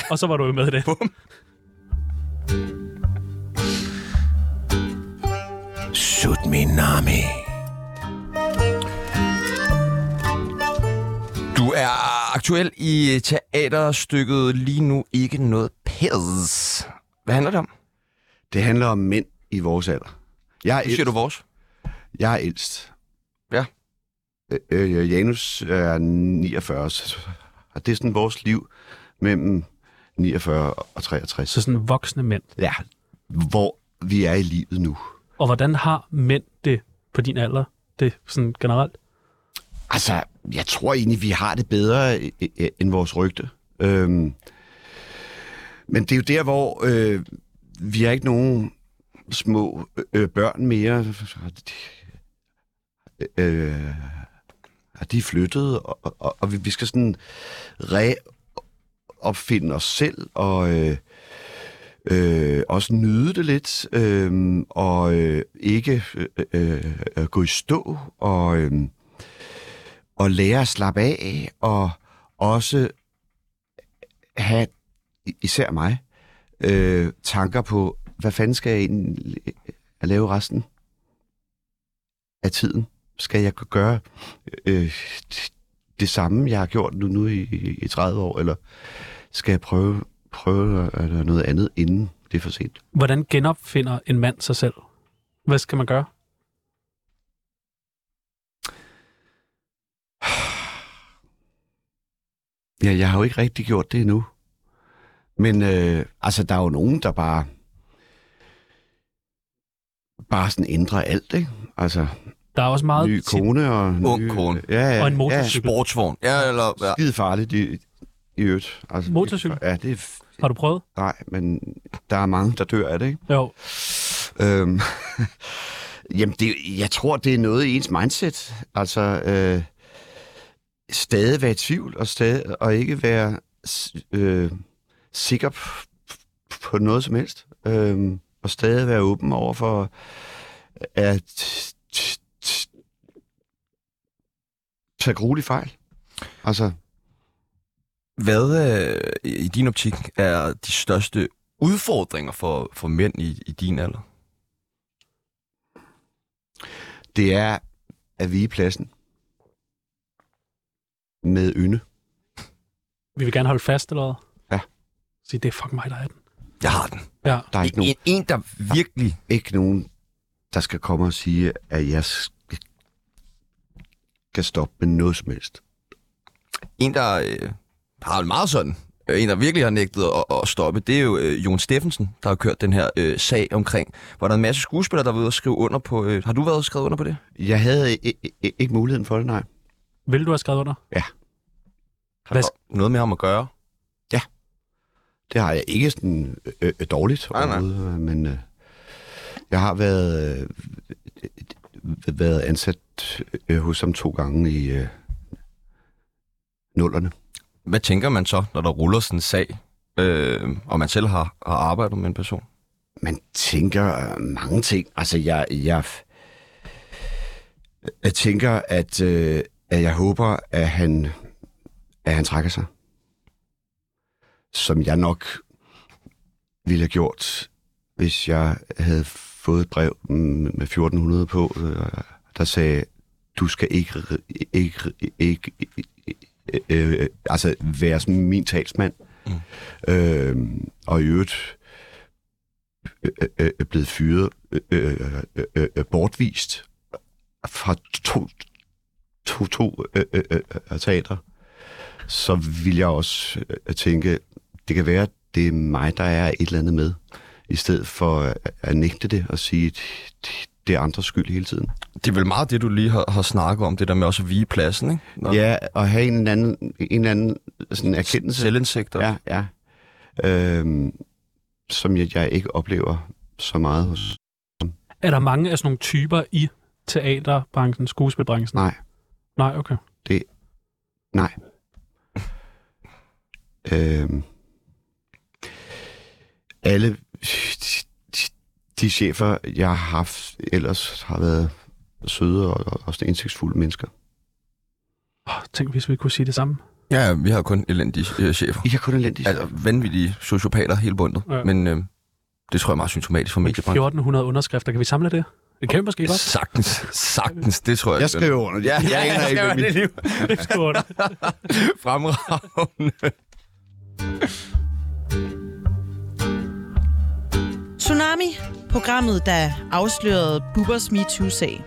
[SPEAKER 3] og så var du jo med i det.
[SPEAKER 1] Sut min nami. Du er aktuel i teaterstykket lige nu ikke noget pæs. Hvad handler det om?
[SPEAKER 2] Det handler om mænd i vores alder. Jeg er
[SPEAKER 1] Nu siger
[SPEAKER 2] ældst.
[SPEAKER 1] du vores.
[SPEAKER 2] Jeg er ældst.
[SPEAKER 1] Ja.
[SPEAKER 2] Øh, øh, Janus er 49, så- og det er sådan vores liv mellem 49 og 63.
[SPEAKER 3] Så sådan voksne mænd.
[SPEAKER 2] Ja, hvor vi er i livet nu.
[SPEAKER 3] Og hvordan har mænd det på din alder? Det sådan generelt?
[SPEAKER 2] Altså, jeg tror egentlig, vi har det bedre øh, øh, end vores rygte. Øhm, men det er jo der, hvor øh, vi har ikke nogen små øh, børn mere. Øh, og de er flyttet, og, og, og vi- vi skal sådan reopfinde os selv, og øh, øh, også nyde det lidt, øh, og øh, ikke øh, øh, øh, gå i stå, og... Øh, og lære at slappe af, og også have, i- især mig, øh, tanker på, hvad fanden skal jeg egentlig at lave resten af tiden? Skal jeg kunne gøre øh, det samme, jeg har gjort nu, nu i, i- i 30 år, eller skal jeg prøve, prøve at gøre noget andet, inden det er for sent?
[SPEAKER 3] Hvordan genopfinder en mand sig selv? Hvad skal man gøre?
[SPEAKER 2] Ja, jeg har jo ikke rigtig gjort det endnu. Men øh, altså, der er jo nogen, der bare bare sådan ændrer alt, ikke? Altså,
[SPEAKER 3] Der er også meget...
[SPEAKER 2] ny kone og...
[SPEAKER 1] Ung
[SPEAKER 2] ny,
[SPEAKER 1] kone.
[SPEAKER 2] Ja, ja,
[SPEAKER 3] Og en
[SPEAKER 2] ja,
[SPEAKER 3] motorcykel.
[SPEAKER 1] Sportsvogn. Ja, eller... Ja.
[SPEAKER 2] skide farligt i, i øvrigt. Altså,
[SPEAKER 3] Motorcykel?
[SPEAKER 2] Ja, det er... f-
[SPEAKER 3] Har du prøvet?
[SPEAKER 2] Nej, men der er mange, der dør af det, ikke?
[SPEAKER 3] Jo.
[SPEAKER 2] Øhm, jamen, det, jeg tror, det er noget i ens mindset. Altså, øh, stadig være i tvivl, og, stadig, og ikke være s- øh, sikker p- p- på noget som helst. Øhm, og stadig være åben over for, at t- t- t- tage gruelig fejl. Altså,
[SPEAKER 1] Hvad øh, i din optik er de største udfordringer for, for mænd i, i din alder?
[SPEAKER 2] det er at vige pladsen med ynde.
[SPEAKER 3] Vi vil gerne holde fast, eller hvad?
[SPEAKER 2] Ja.
[SPEAKER 3] Sige, det er fucking mig, der er den.
[SPEAKER 1] Jeg har den.
[SPEAKER 3] Ja.
[SPEAKER 2] Der er ikke nogen
[SPEAKER 1] En, en, der virkelig...
[SPEAKER 2] ikke nogen, der skal komme og sige, at jeg sk- skal stoppe med noget som helst.
[SPEAKER 1] En, der øh, har det meget sådan. Øh, En, der virkelig har nægtet at, at stoppe, det er jo øh, Jon Steffensen, der har kørt den her øh, sag omkring, hvor der er en masse skuespillere, der har været ude og skrive under på... Øh, har du været og skrevet under på det?
[SPEAKER 2] Jeg havde i- i- i- ikke muligheden for det, nej.
[SPEAKER 3] Vil du have skrevet under?
[SPEAKER 1] Har
[SPEAKER 3] Hvad-
[SPEAKER 1] det noget med ham at gøre?
[SPEAKER 2] Det har jeg ikke sådan øh, øh, dårligt
[SPEAKER 1] Nej, nej.
[SPEAKER 2] overhovedet, men øh, jeg har været, øh, øh, været ansat øh, hos ham to gange i øh, nullerne.
[SPEAKER 1] Hvad tænker man så, når der ruller sådan en sag, øh, og man selv har, har arbejdet med en person?
[SPEAKER 2] man tænker øh, mange ting. Altså, jeg, jeg, jeg tænker, at, øh, at jeg håber, at han, at han trækker sig. Som jeg nok ville have gjort, hvis jeg havde fået et brev mm, med 1400 på, øh, der sagde, du skal ikke, ikke, ikke, ikke øh, øh, altså være sådan min talsmand. Mm. Øh, og i øvrigt, øh, øh, øh, blevet fyret, øh, øh, øh, øh, øh, bortvist fra to, to, to øh, øh, øh, teater, så vil jeg også øh, tænke, det kan være, at det er mig, der er et eller andet med, i stedet for at- at nægte det og sige, at det er andres skyld hele tiden.
[SPEAKER 1] Det er vel meget det, du lige har, har snakket om, det der med også at vige pladsen, ikke? Nå.
[SPEAKER 2] Ja, og have en eller anden, en eller anden sådan erkendelse.
[SPEAKER 1] Selvindsigter.
[SPEAKER 2] Ja, ja. Øhm, som jeg, jeg ikke oplever så meget hos.
[SPEAKER 3] Er der mange af sådan nogle typer i teaterbranchen, skuespilbranchen?
[SPEAKER 2] Nej.
[SPEAKER 3] Nej, okay.
[SPEAKER 2] Nej. Øh, alle de chefer, jeg har haft ellers, har været søde og, og, og sådan indsigtsfulde mennesker.
[SPEAKER 3] Oh, tænk, hvis vi kunne sige det samme.
[SPEAKER 1] Ja, vi har jo kun elendige øh, chefer.
[SPEAKER 2] I har kun elendigt.
[SPEAKER 1] Altså, vanvittige sociopater hele bundet.
[SPEAKER 3] Ja.
[SPEAKER 1] Ja. Men øh, det tror jeg er meget symptomatisk for mediebranchen.
[SPEAKER 3] 1400 underskrifter, kan vi samle det? Det kan vi måske godt.
[SPEAKER 1] Sagtens, sagtens, det tror jeg.
[SPEAKER 2] Jeg skriver under.
[SPEAKER 1] Ja, jeg aner ikke, hvad mit
[SPEAKER 2] liv.
[SPEAKER 3] Det skal vi godt.
[SPEAKER 1] fremragende.
[SPEAKER 8] Tsunami, programmet, der afslørede Bubbers MeToo-sag.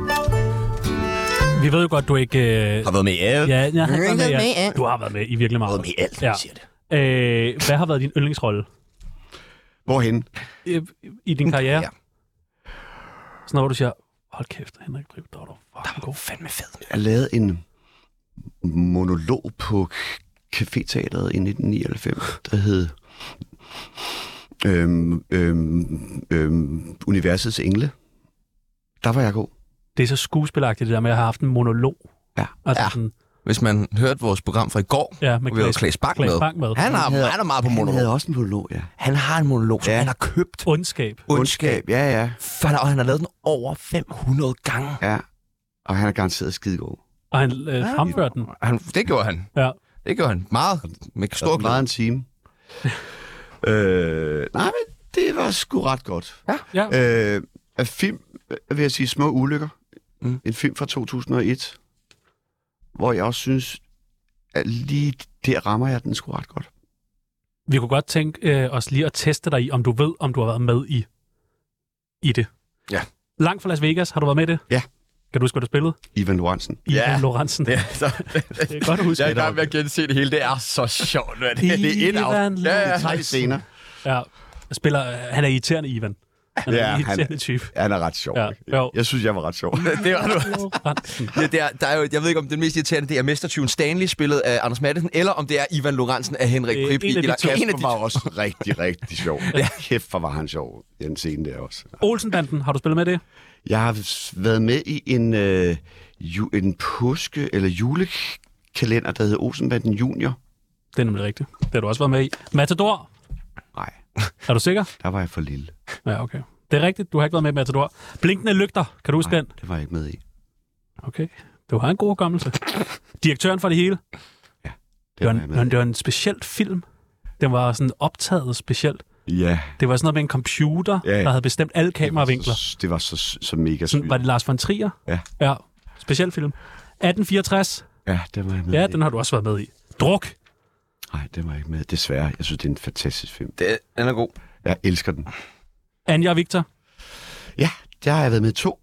[SPEAKER 3] Vi ved jo godt, du ikke... Øh...
[SPEAKER 1] Har været med i alt.
[SPEAKER 3] Ja, jeg har ikke været med,
[SPEAKER 8] Med,
[SPEAKER 3] ja.
[SPEAKER 8] ja.
[SPEAKER 3] Du har været med i virkelig meget.
[SPEAKER 1] Været med i alt,
[SPEAKER 3] Ja.
[SPEAKER 1] ja. siger det.
[SPEAKER 3] Øh, hvad har været din yndlingsrolle
[SPEAKER 2] Hvorhen?
[SPEAKER 3] øh, i din karriere?
[SPEAKER 1] Ja.
[SPEAKER 3] Ja. Sådan noget, hvor du siger, hold kæft, Henrik Brive, der var du fucking god.
[SPEAKER 1] Fandme fed.
[SPEAKER 2] Jeg lavede en monolog på Café-teateret i 1999, der hed øhm, øhm, øhm, Universets Engle. Der var jeg god.
[SPEAKER 3] Det er så skuespilagtigt, det der med at have haft en monolog.
[SPEAKER 2] Ja.
[SPEAKER 3] Altså,
[SPEAKER 1] Ja.
[SPEAKER 3] Sådan,
[SPEAKER 1] Hvis man hørte vores program fra i går, hvor
[SPEAKER 3] ja med
[SPEAKER 1] vi havde
[SPEAKER 3] Claes-
[SPEAKER 1] Klaas Bang
[SPEAKER 3] Claes
[SPEAKER 1] med.
[SPEAKER 3] Bang med.
[SPEAKER 1] Han har,
[SPEAKER 2] Han havde-
[SPEAKER 1] han er meget på
[SPEAKER 2] Han havde
[SPEAKER 1] monolog.
[SPEAKER 2] også en monolog, ja.
[SPEAKER 1] Han har en monolog, som
[SPEAKER 2] Ja.
[SPEAKER 1] han har købt.
[SPEAKER 3] Ondskab.
[SPEAKER 1] Ondskab.
[SPEAKER 2] Ja, ja.
[SPEAKER 1] For han- Og han har lavet den over 500 gange.
[SPEAKER 2] ja. Og han er garanteret skidegod.
[SPEAKER 3] Og han øh, fremførte den.
[SPEAKER 1] Han, det gjorde han.
[SPEAKER 3] Ja.
[SPEAKER 1] Det gjorde han meget med stor
[SPEAKER 2] Meget
[SPEAKER 1] glæde.
[SPEAKER 2] en time. øh, nej, men det var sgu ret godt.
[SPEAKER 3] ja.
[SPEAKER 2] Øh, af film, øh, vil jeg sige, Små Ulykker.
[SPEAKER 1] Mm.
[SPEAKER 2] Mm. En film fra 2001, hvor jeg også synes, at lige der rammer jeg den sgu ret godt.
[SPEAKER 3] Vi kunne godt tænke øh, os lige at teste dig i, om du ved, om du har været med i, i det.
[SPEAKER 1] Ja.
[SPEAKER 3] Langt fra Las Vegas, har du været med i det?
[SPEAKER 2] Ja.
[SPEAKER 3] Kan du huske, hvad du spillede?
[SPEAKER 2] Ivan Lorentzen.
[SPEAKER 3] Ivan
[SPEAKER 1] Ja.
[SPEAKER 3] Lorentzen.
[SPEAKER 1] Ja, så,
[SPEAKER 3] Det er godt at huske.
[SPEAKER 1] jeg er i gang med at gense det hele. Det er så sjovt, hvad det, det er. et af-
[SPEAKER 3] Ivan
[SPEAKER 1] Ja, ja.
[SPEAKER 2] Tre scener.
[SPEAKER 3] Ja. Jeg Spiller, han er irriterende, Ivan. Han er
[SPEAKER 2] Ja,
[SPEAKER 3] ja,
[SPEAKER 2] han-
[SPEAKER 3] en irriterende han... type.
[SPEAKER 2] Ja, han er ret sjov.
[SPEAKER 3] Ja, jo.
[SPEAKER 2] Jeg synes, jeg var ret sjov.
[SPEAKER 1] Det var du.
[SPEAKER 3] Lorentzen.
[SPEAKER 1] Ja, det er, der er jo, jeg ved ikke, om den mest irriterende det er Mestertyven Stanley, spillet af Anders Madsen, eller om det er Ivan Lorentzen af Henrik
[SPEAKER 3] Det er
[SPEAKER 1] Prip.
[SPEAKER 3] en af de to.
[SPEAKER 2] En af de var også rigtig, rigtig sjov. ja. Kæft, hvor var han sjov i den scene der også.
[SPEAKER 3] Olsenbanden, har du spillet med det?
[SPEAKER 2] Jeg har s- været med i en, øh, ju, en påske- eller julekalender, der hedder Olsenbanden Junior.
[SPEAKER 3] Det er nemlig rigtigt. Det har du også været med i. Matador,
[SPEAKER 2] Nej,
[SPEAKER 3] er du sikker?
[SPEAKER 2] der var jeg for lille.
[SPEAKER 3] Ja, okay. Det er rigtigt, du har ikke været med i Matador. Blinkende lygter, kan du huske
[SPEAKER 2] Nej,
[SPEAKER 3] den?
[SPEAKER 2] det var jeg ikke med i.
[SPEAKER 3] Okay. Du har en god hukommelse. Direktøren for det hele.
[SPEAKER 2] Det
[SPEAKER 3] Det var,
[SPEAKER 2] var
[SPEAKER 3] en,
[SPEAKER 2] jeg med
[SPEAKER 3] det var en speciel film. Den var sådan optaget specielt.
[SPEAKER 2] i. Ja,
[SPEAKER 3] Det var sådan noget med en computer,
[SPEAKER 2] Ja, ja.
[SPEAKER 3] der havde bestemt alle
[SPEAKER 2] det var,
[SPEAKER 3] kameravinkler.
[SPEAKER 2] så, det var så, så mega
[SPEAKER 3] Sådan,
[SPEAKER 2] sygt.
[SPEAKER 3] var det Lars von Trier?
[SPEAKER 2] Ja.
[SPEAKER 3] ja. Speciel film. 1864.
[SPEAKER 2] Ja, det var jeg med
[SPEAKER 3] Ja,
[SPEAKER 2] i.
[SPEAKER 3] den har du også været med i. Druk.
[SPEAKER 2] Nej, det var jeg ikke med i. Desværre, jeg synes, det er en fantastisk film.
[SPEAKER 1] Det, den er god.
[SPEAKER 2] Jeg elsker den.
[SPEAKER 3] Anja og Victor.
[SPEAKER 2] Ja, der har jeg været med i to.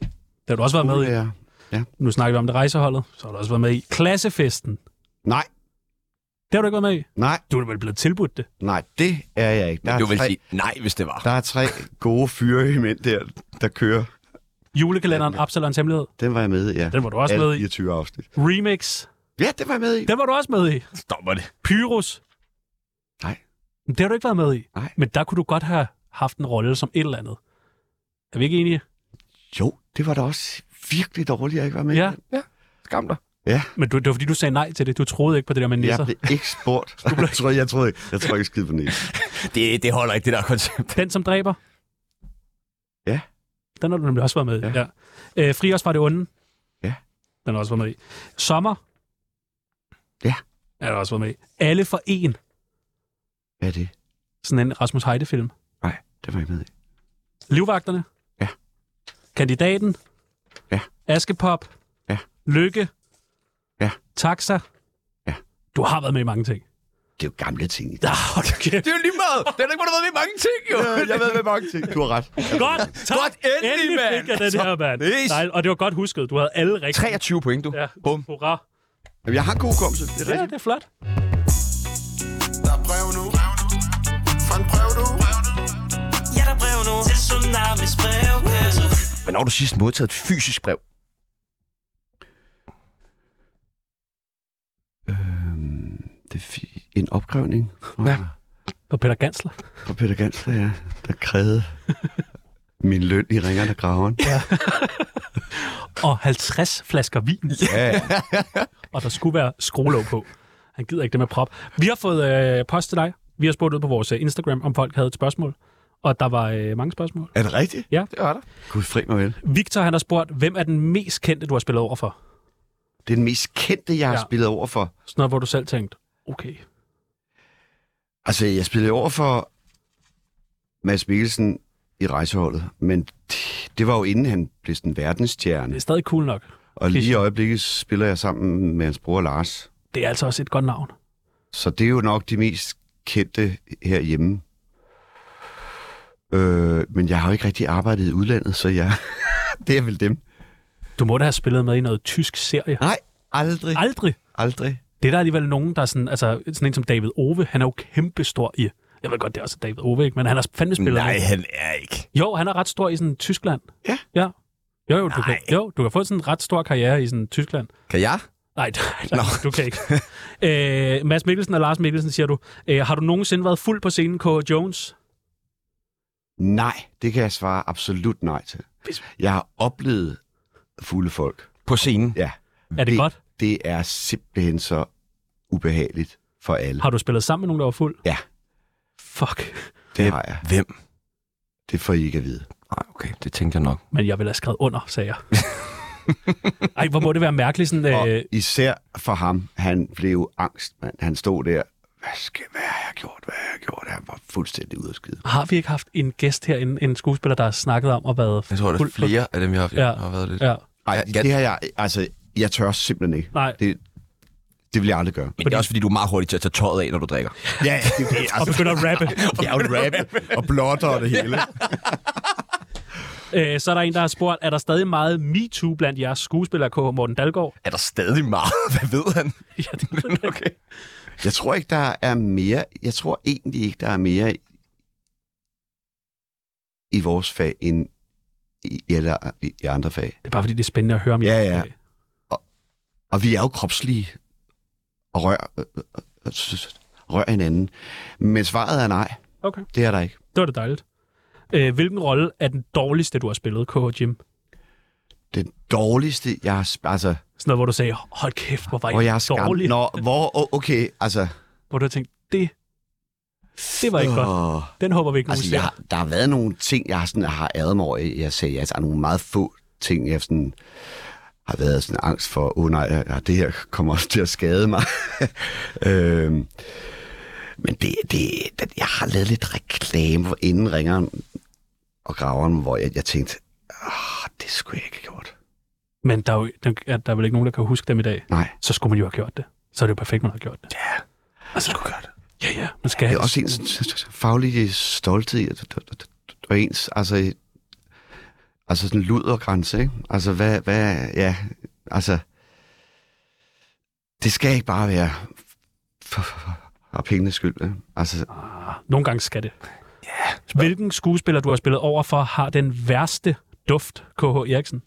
[SPEAKER 3] Det har du også været med i.
[SPEAKER 2] Ja.
[SPEAKER 3] Nu snakker vi om det rejseholdet. Så har du også været med i Klassefesten.
[SPEAKER 2] Nej,
[SPEAKER 3] Det har du ikke været med i.
[SPEAKER 2] nej,
[SPEAKER 3] Du er vel blevet tilbudt det.
[SPEAKER 2] nej, det er jeg ikke. Der
[SPEAKER 1] Du
[SPEAKER 2] er
[SPEAKER 1] vil
[SPEAKER 2] tre,
[SPEAKER 1] sige nej, hvis det var.
[SPEAKER 2] der er tre gode fyre i mænd der, der kører.
[SPEAKER 3] Julekalenderen, Absalons Hemmelighed.
[SPEAKER 2] Den var jeg med i, ja.
[SPEAKER 3] Den var du også
[SPEAKER 2] Alle
[SPEAKER 3] med i.
[SPEAKER 2] 24 afsnit.
[SPEAKER 3] Remix.
[SPEAKER 2] Ja, det var jeg med i.
[SPEAKER 3] Den var du også med i.
[SPEAKER 1] Stopper det.
[SPEAKER 3] Pyrus.
[SPEAKER 2] Nej.
[SPEAKER 3] Men Det har du ikke været med i.
[SPEAKER 2] Nej.
[SPEAKER 3] Men der kunne du godt have haft en rolle som et eller andet. Er vi ikke enige?
[SPEAKER 2] Jo, det var da også virkelig dårligt, at jeg ikke var med.
[SPEAKER 3] Ja.
[SPEAKER 1] Skam dig.
[SPEAKER 3] Men du, det var fordi, du sagde nej til det. Du troede ikke på det der med
[SPEAKER 2] Jeg
[SPEAKER 3] nisser.
[SPEAKER 2] blev ikke spurgt. jeg tror, jeg tror ikke, jeg tror ikke skide på næsen.
[SPEAKER 1] Det, det holder ikke, det der koncept.
[SPEAKER 3] Den, som dræber.
[SPEAKER 2] Ja.
[SPEAKER 3] Den har du nemlig også været med i. Ja. ja. Øh, Fri os fra det onde.
[SPEAKER 2] Ja.
[SPEAKER 3] Den har også været med i. Sommer.
[SPEAKER 2] Ja.
[SPEAKER 3] Den har du også været med i. Alle for en.
[SPEAKER 2] Hvad er det?
[SPEAKER 3] Sådan en Rasmus Heide-film.
[SPEAKER 2] Nej, det var jeg med i.
[SPEAKER 3] Livvagterne.
[SPEAKER 2] Ja.
[SPEAKER 3] Kandidaten.
[SPEAKER 2] Ja.
[SPEAKER 3] Askepop.
[SPEAKER 2] Ja.
[SPEAKER 3] Lykke.
[SPEAKER 2] Ja.
[SPEAKER 3] Taxa.
[SPEAKER 2] Ja.
[SPEAKER 3] Du har været med i mange ting.
[SPEAKER 2] Det er jo gamle ting.
[SPEAKER 3] Ah, hold kæft.
[SPEAKER 1] Det er jo lige meget. Den er kun været med i mange ting, jo.
[SPEAKER 2] Jeg ved med mange ting. Du har ret.
[SPEAKER 3] Godt, tak.
[SPEAKER 1] Godt, endelig, mand.
[SPEAKER 3] fik jeg den her, mand.
[SPEAKER 1] Yes.
[SPEAKER 3] Nej, og det var godt husket. Du havde alle rigtigt.
[SPEAKER 1] 23 point, du.
[SPEAKER 3] Ja.
[SPEAKER 1] Bum.
[SPEAKER 3] Hurra.
[SPEAKER 2] Jamen, jeg har god hukommelse. Det er
[SPEAKER 3] Ja,
[SPEAKER 2] rigtigt.
[SPEAKER 3] det er flot.
[SPEAKER 9] Der er brev nu. Fandt brev nu.
[SPEAKER 5] Ja, der er brev nu til Tsunamis brevkasse.
[SPEAKER 1] Hvornår har du sidst modtaget et fysisk brev?
[SPEAKER 2] Øhm, det er fi- en opgravning fra,
[SPEAKER 1] Ja.
[SPEAKER 2] ja.
[SPEAKER 3] Og Peter Gansler.
[SPEAKER 2] fra Peter Gansler, ja, der krævede min løn i ringerne og graveren.
[SPEAKER 3] Og 50 flasker vin.
[SPEAKER 2] Ja,
[SPEAKER 3] Og der skulle være skruelåg på. Han gider ikke det med prop. Vi har fået øh, post til dig. Vi har spurgt ud på vores øh, Instagram, om folk havde et spørgsmål. Og der var øh, mange spørgsmål.
[SPEAKER 2] Er det rigtigt?
[SPEAKER 3] Ja.
[SPEAKER 2] Det var der. Gud, fri mig vel.
[SPEAKER 3] Victor, han har spurgt, hvem er den mest kendte, du har spillet over for?
[SPEAKER 2] Det er den mest kendte, jeg har
[SPEAKER 3] Ja.
[SPEAKER 2] ja. spillet over for.
[SPEAKER 3] Sådan noget, hvor du selv tænkte, okay.
[SPEAKER 2] Altså, jeg spillede over for Mads Mikkelsen i rejseholdet, men det var jo inden han blev sådan
[SPEAKER 3] Det er
[SPEAKER 2] verdensstjerne.
[SPEAKER 3] stadig cool nok.
[SPEAKER 2] Og lige i øjeblikket spiller jeg sammen med hans bror Lars.
[SPEAKER 3] Det er altså også et godt navn.
[SPEAKER 2] Så det er jo nok de mest kendte herhjemme. Øh, men jeg har jo ikke rigtig arbejdet i udlandet, så jeg... det er vel dem.
[SPEAKER 3] Du må da have spillet med i noget tysk serie.
[SPEAKER 2] Nej, aldrig.
[SPEAKER 3] Aldrig.
[SPEAKER 2] Aldrig.
[SPEAKER 3] Det er der alligevel nogen, der er sådan, altså sådan en som David Ove, han er jo kæmpestor i, jeg ved godt, det er også David Ove, ikke? men han har fandme spillet
[SPEAKER 1] Nej,
[SPEAKER 3] med.
[SPEAKER 1] han er ikke.
[SPEAKER 3] Jo, han er ret stor i sådan Tyskland.
[SPEAKER 2] Ja.
[SPEAKER 3] Ja. Jo, jo, du
[SPEAKER 1] Nej.
[SPEAKER 3] kan, jo, du kan få sådan en ret stor karriere i sådan Tyskland.
[SPEAKER 1] Kan jeg?
[SPEAKER 3] Nej, nej, nej du kan ikke. Æ, Mads Mikkelsen og Lars Mikkelsen, siger du. Æ, har du nogensinde været fuld på scenen, K. Jones?
[SPEAKER 2] Nej, det kan jeg svare absolut nej til. Jeg har oplevet fulde folk.
[SPEAKER 1] På scenen.
[SPEAKER 2] Ja.
[SPEAKER 3] Er det, det godt?
[SPEAKER 2] Det er simpelthen så ubehageligt for alle.
[SPEAKER 3] Har du spillet sammen med nogen, der var fuld?
[SPEAKER 2] Ja.
[SPEAKER 3] Fuck.
[SPEAKER 2] Det har jeg.
[SPEAKER 1] Hvem?
[SPEAKER 2] Det får I ikke at vide.
[SPEAKER 1] Nej, okay, det tænkte jeg nok.
[SPEAKER 3] Men jeg ville have skrevet under, sagde jeg. Ej, hvor må det være mærkeligt sådan...
[SPEAKER 2] Og
[SPEAKER 3] Øh,
[SPEAKER 2] især for ham, han blev angst, mand. Han stod der, hvad, skal, hvad har jeg gjort, hvad har jeg gjort? Han var fuldstændig ude af skide.
[SPEAKER 3] har vi ikke haft en gæst herinde, en skuespiller, der har snakket om at været
[SPEAKER 1] Jeg tror, det er
[SPEAKER 3] fuld på-
[SPEAKER 1] flere af dem, vi har haft.
[SPEAKER 3] Ja.
[SPEAKER 1] har været lidt.
[SPEAKER 3] Ja.
[SPEAKER 1] Ej, jeg,
[SPEAKER 2] Det har jeg, altså, jeg tør simpelthen ikke.
[SPEAKER 3] Nej.
[SPEAKER 2] Det, det vil jeg aldrig gøre.
[SPEAKER 1] men det er også, fordi du er meget hurtig til at tage tøjet af, når du drikker.
[SPEAKER 2] Ja, det, det,
[SPEAKER 3] Og
[SPEAKER 2] altså,
[SPEAKER 3] begynder at rappe.
[SPEAKER 2] jeg er jo rappe og blotter og det hele.
[SPEAKER 3] Æ, Øh, så er der en, der har spurgt, er der stadig meget MeToo blandt jeres skuespillere, K. Morten Dalgaard?
[SPEAKER 1] Er der stadig meget? Hvad ved han?
[SPEAKER 3] Ja, det ved jeg ikke.
[SPEAKER 1] Okay.
[SPEAKER 2] Jeg tror ikke, der er mere, jeg tror egentlig ikke, der er mere i, i vores fag, end i, eller i, i andre fag.
[SPEAKER 3] det er bare fordi, det er spændende at høre om
[SPEAKER 2] Ja,
[SPEAKER 3] jeres
[SPEAKER 2] ja.
[SPEAKER 3] hverdag.
[SPEAKER 2] Og vi er jo kropslige og rør, øh, øh, s- rør hinanden. Men svaret er nej.
[SPEAKER 3] Okay.
[SPEAKER 2] Det er der ikke.
[SPEAKER 3] Det var det dejligt. Æ, hvilken rolle er den dårligste, du har spillet, K. Jim?
[SPEAKER 2] Den dårligste, jeg har... sp- Altså,
[SPEAKER 3] Sådan noget, hvor du sagde, hold kæft, hvor var
[SPEAKER 2] hvor
[SPEAKER 3] jeg,
[SPEAKER 2] jeg har skam...
[SPEAKER 3] dårlig.
[SPEAKER 2] Nå, hvor... o- Okay, altså...
[SPEAKER 3] Hvor du har tænkt, det, det var ikke godt.
[SPEAKER 2] Åh,
[SPEAKER 3] Den håber vi ikke, nogen
[SPEAKER 2] Øh. altså
[SPEAKER 3] ser.
[SPEAKER 2] jeg, har- der har været nogle ting, jeg har sådan, har æret mig over. Jeg sagde, altså, der er nogle meget få ting, jeg sådan har været sådan angst for, åh oh, nej, ja, det her kommer til at skade mig. øhm, men det, det, det, jeg har lavet lidt reklame, hvor inden ringeren og graveren, hvor jeg, jeg tænkte, ah, det skulle jeg ikke have gjort.
[SPEAKER 3] Men der er, jo, der, er- der er vel ikke nogen, der kan huske dem i dag.
[SPEAKER 2] Nej.
[SPEAKER 3] Så skulle man jo have gjort det. Så er det jo perfekt, man har gjort det.
[SPEAKER 2] Ja,
[SPEAKER 3] Altså, skulle gøre det. Ja, ja. Man skal
[SPEAKER 2] Det
[SPEAKER 3] have
[SPEAKER 2] er også ens faglige stolthed, og- og- og- og ens, altså, altså sådan ludergrænse, ikke? Altså, hvad, hvad, ja, altså, det skal ikke bare være for, for, for pengenes skyld, ikke? altså,
[SPEAKER 3] Nogle gange skal det. Yeah. Hvilken skuespiller, du har spillet over for, har den værste duft, K.H. Eriksen?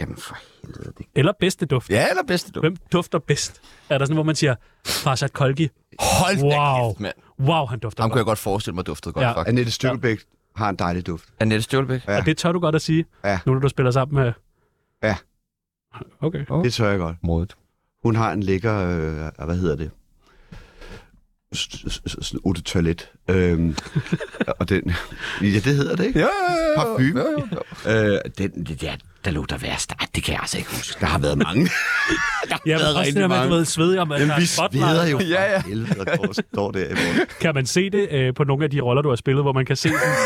[SPEAKER 2] jamen for helvede, det
[SPEAKER 3] Eller bedste duft?
[SPEAKER 1] Ja, eller bedste du.
[SPEAKER 3] Hvem dufter bedst? Er der sådan, hvor man siger, Farsad Kolgi,
[SPEAKER 1] Hold da
[SPEAKER 3] Wow.
[SPEAKER 1] kæft, mand.
[SPEAKER 3] wow, han dufter
[SPEAKER 1] Ham kunne
[SPEAKER 3] godt.
[SPEAKER 1] jeg godt forestille mig duftede godt,
[SPEAKER 3] Ja.
[SPEAKER 1] ja. faktisk.
[SPEAKER 2] Annette Støvbæk har en dejlig duft.
[SPEAKER 1] Annette Stjålbæk.
[SPEAKER 2] Ja.
[SPEAKER 3] Og det tør du godt at sige,
[SPEAKER 2] Ja.
[SPEAKER 3] nu når du spiller sammen med...
[SPEAKER 2] Ja.
[SPEAKER 3] Okay.
[SPEAKER 2] Det tør jeg godt.
[SPEAKER 1] Modet.
[SPEAKER 2] Hun har en lækker, øh, hvad hedder det? S- s- s- Sådan otte toilet. Øhm, og den, ja, det hedder det, ikke?
[SPEAKER 1] Ja,
[SPEAKER 2] Parfume. Øh, den, det der, der lå der værst, Ej, det kan jeg altså ikke huske. Der har været mange.
[SPEAKER 3] Ja, men
[SPEAKER 2] været
[SPEAKER 3] også det
[SPEAKER 2] rigtig
[SPEAKER 3] der med, du
[SPEAKER 2] mange.
[SPEAKER 3] ved, svedig om, at der
[SPEAKER 2] Jamen,
[SPEAKER 3] er
[SPEAKER 2] vi
[SPEAKER 3] spotlight.
[SPEAKER 2] sveder jo
[SPEAKER 1] Ja,
[SPEAKER 2] ja,
[SPEAKER 1] ja.
[SPEAKER 2] ja. helvede og går- står der i vores.
[SPEAKER 3] Kan man se det øh, på nogle af de roller, du har spillet, hvor man kan se, at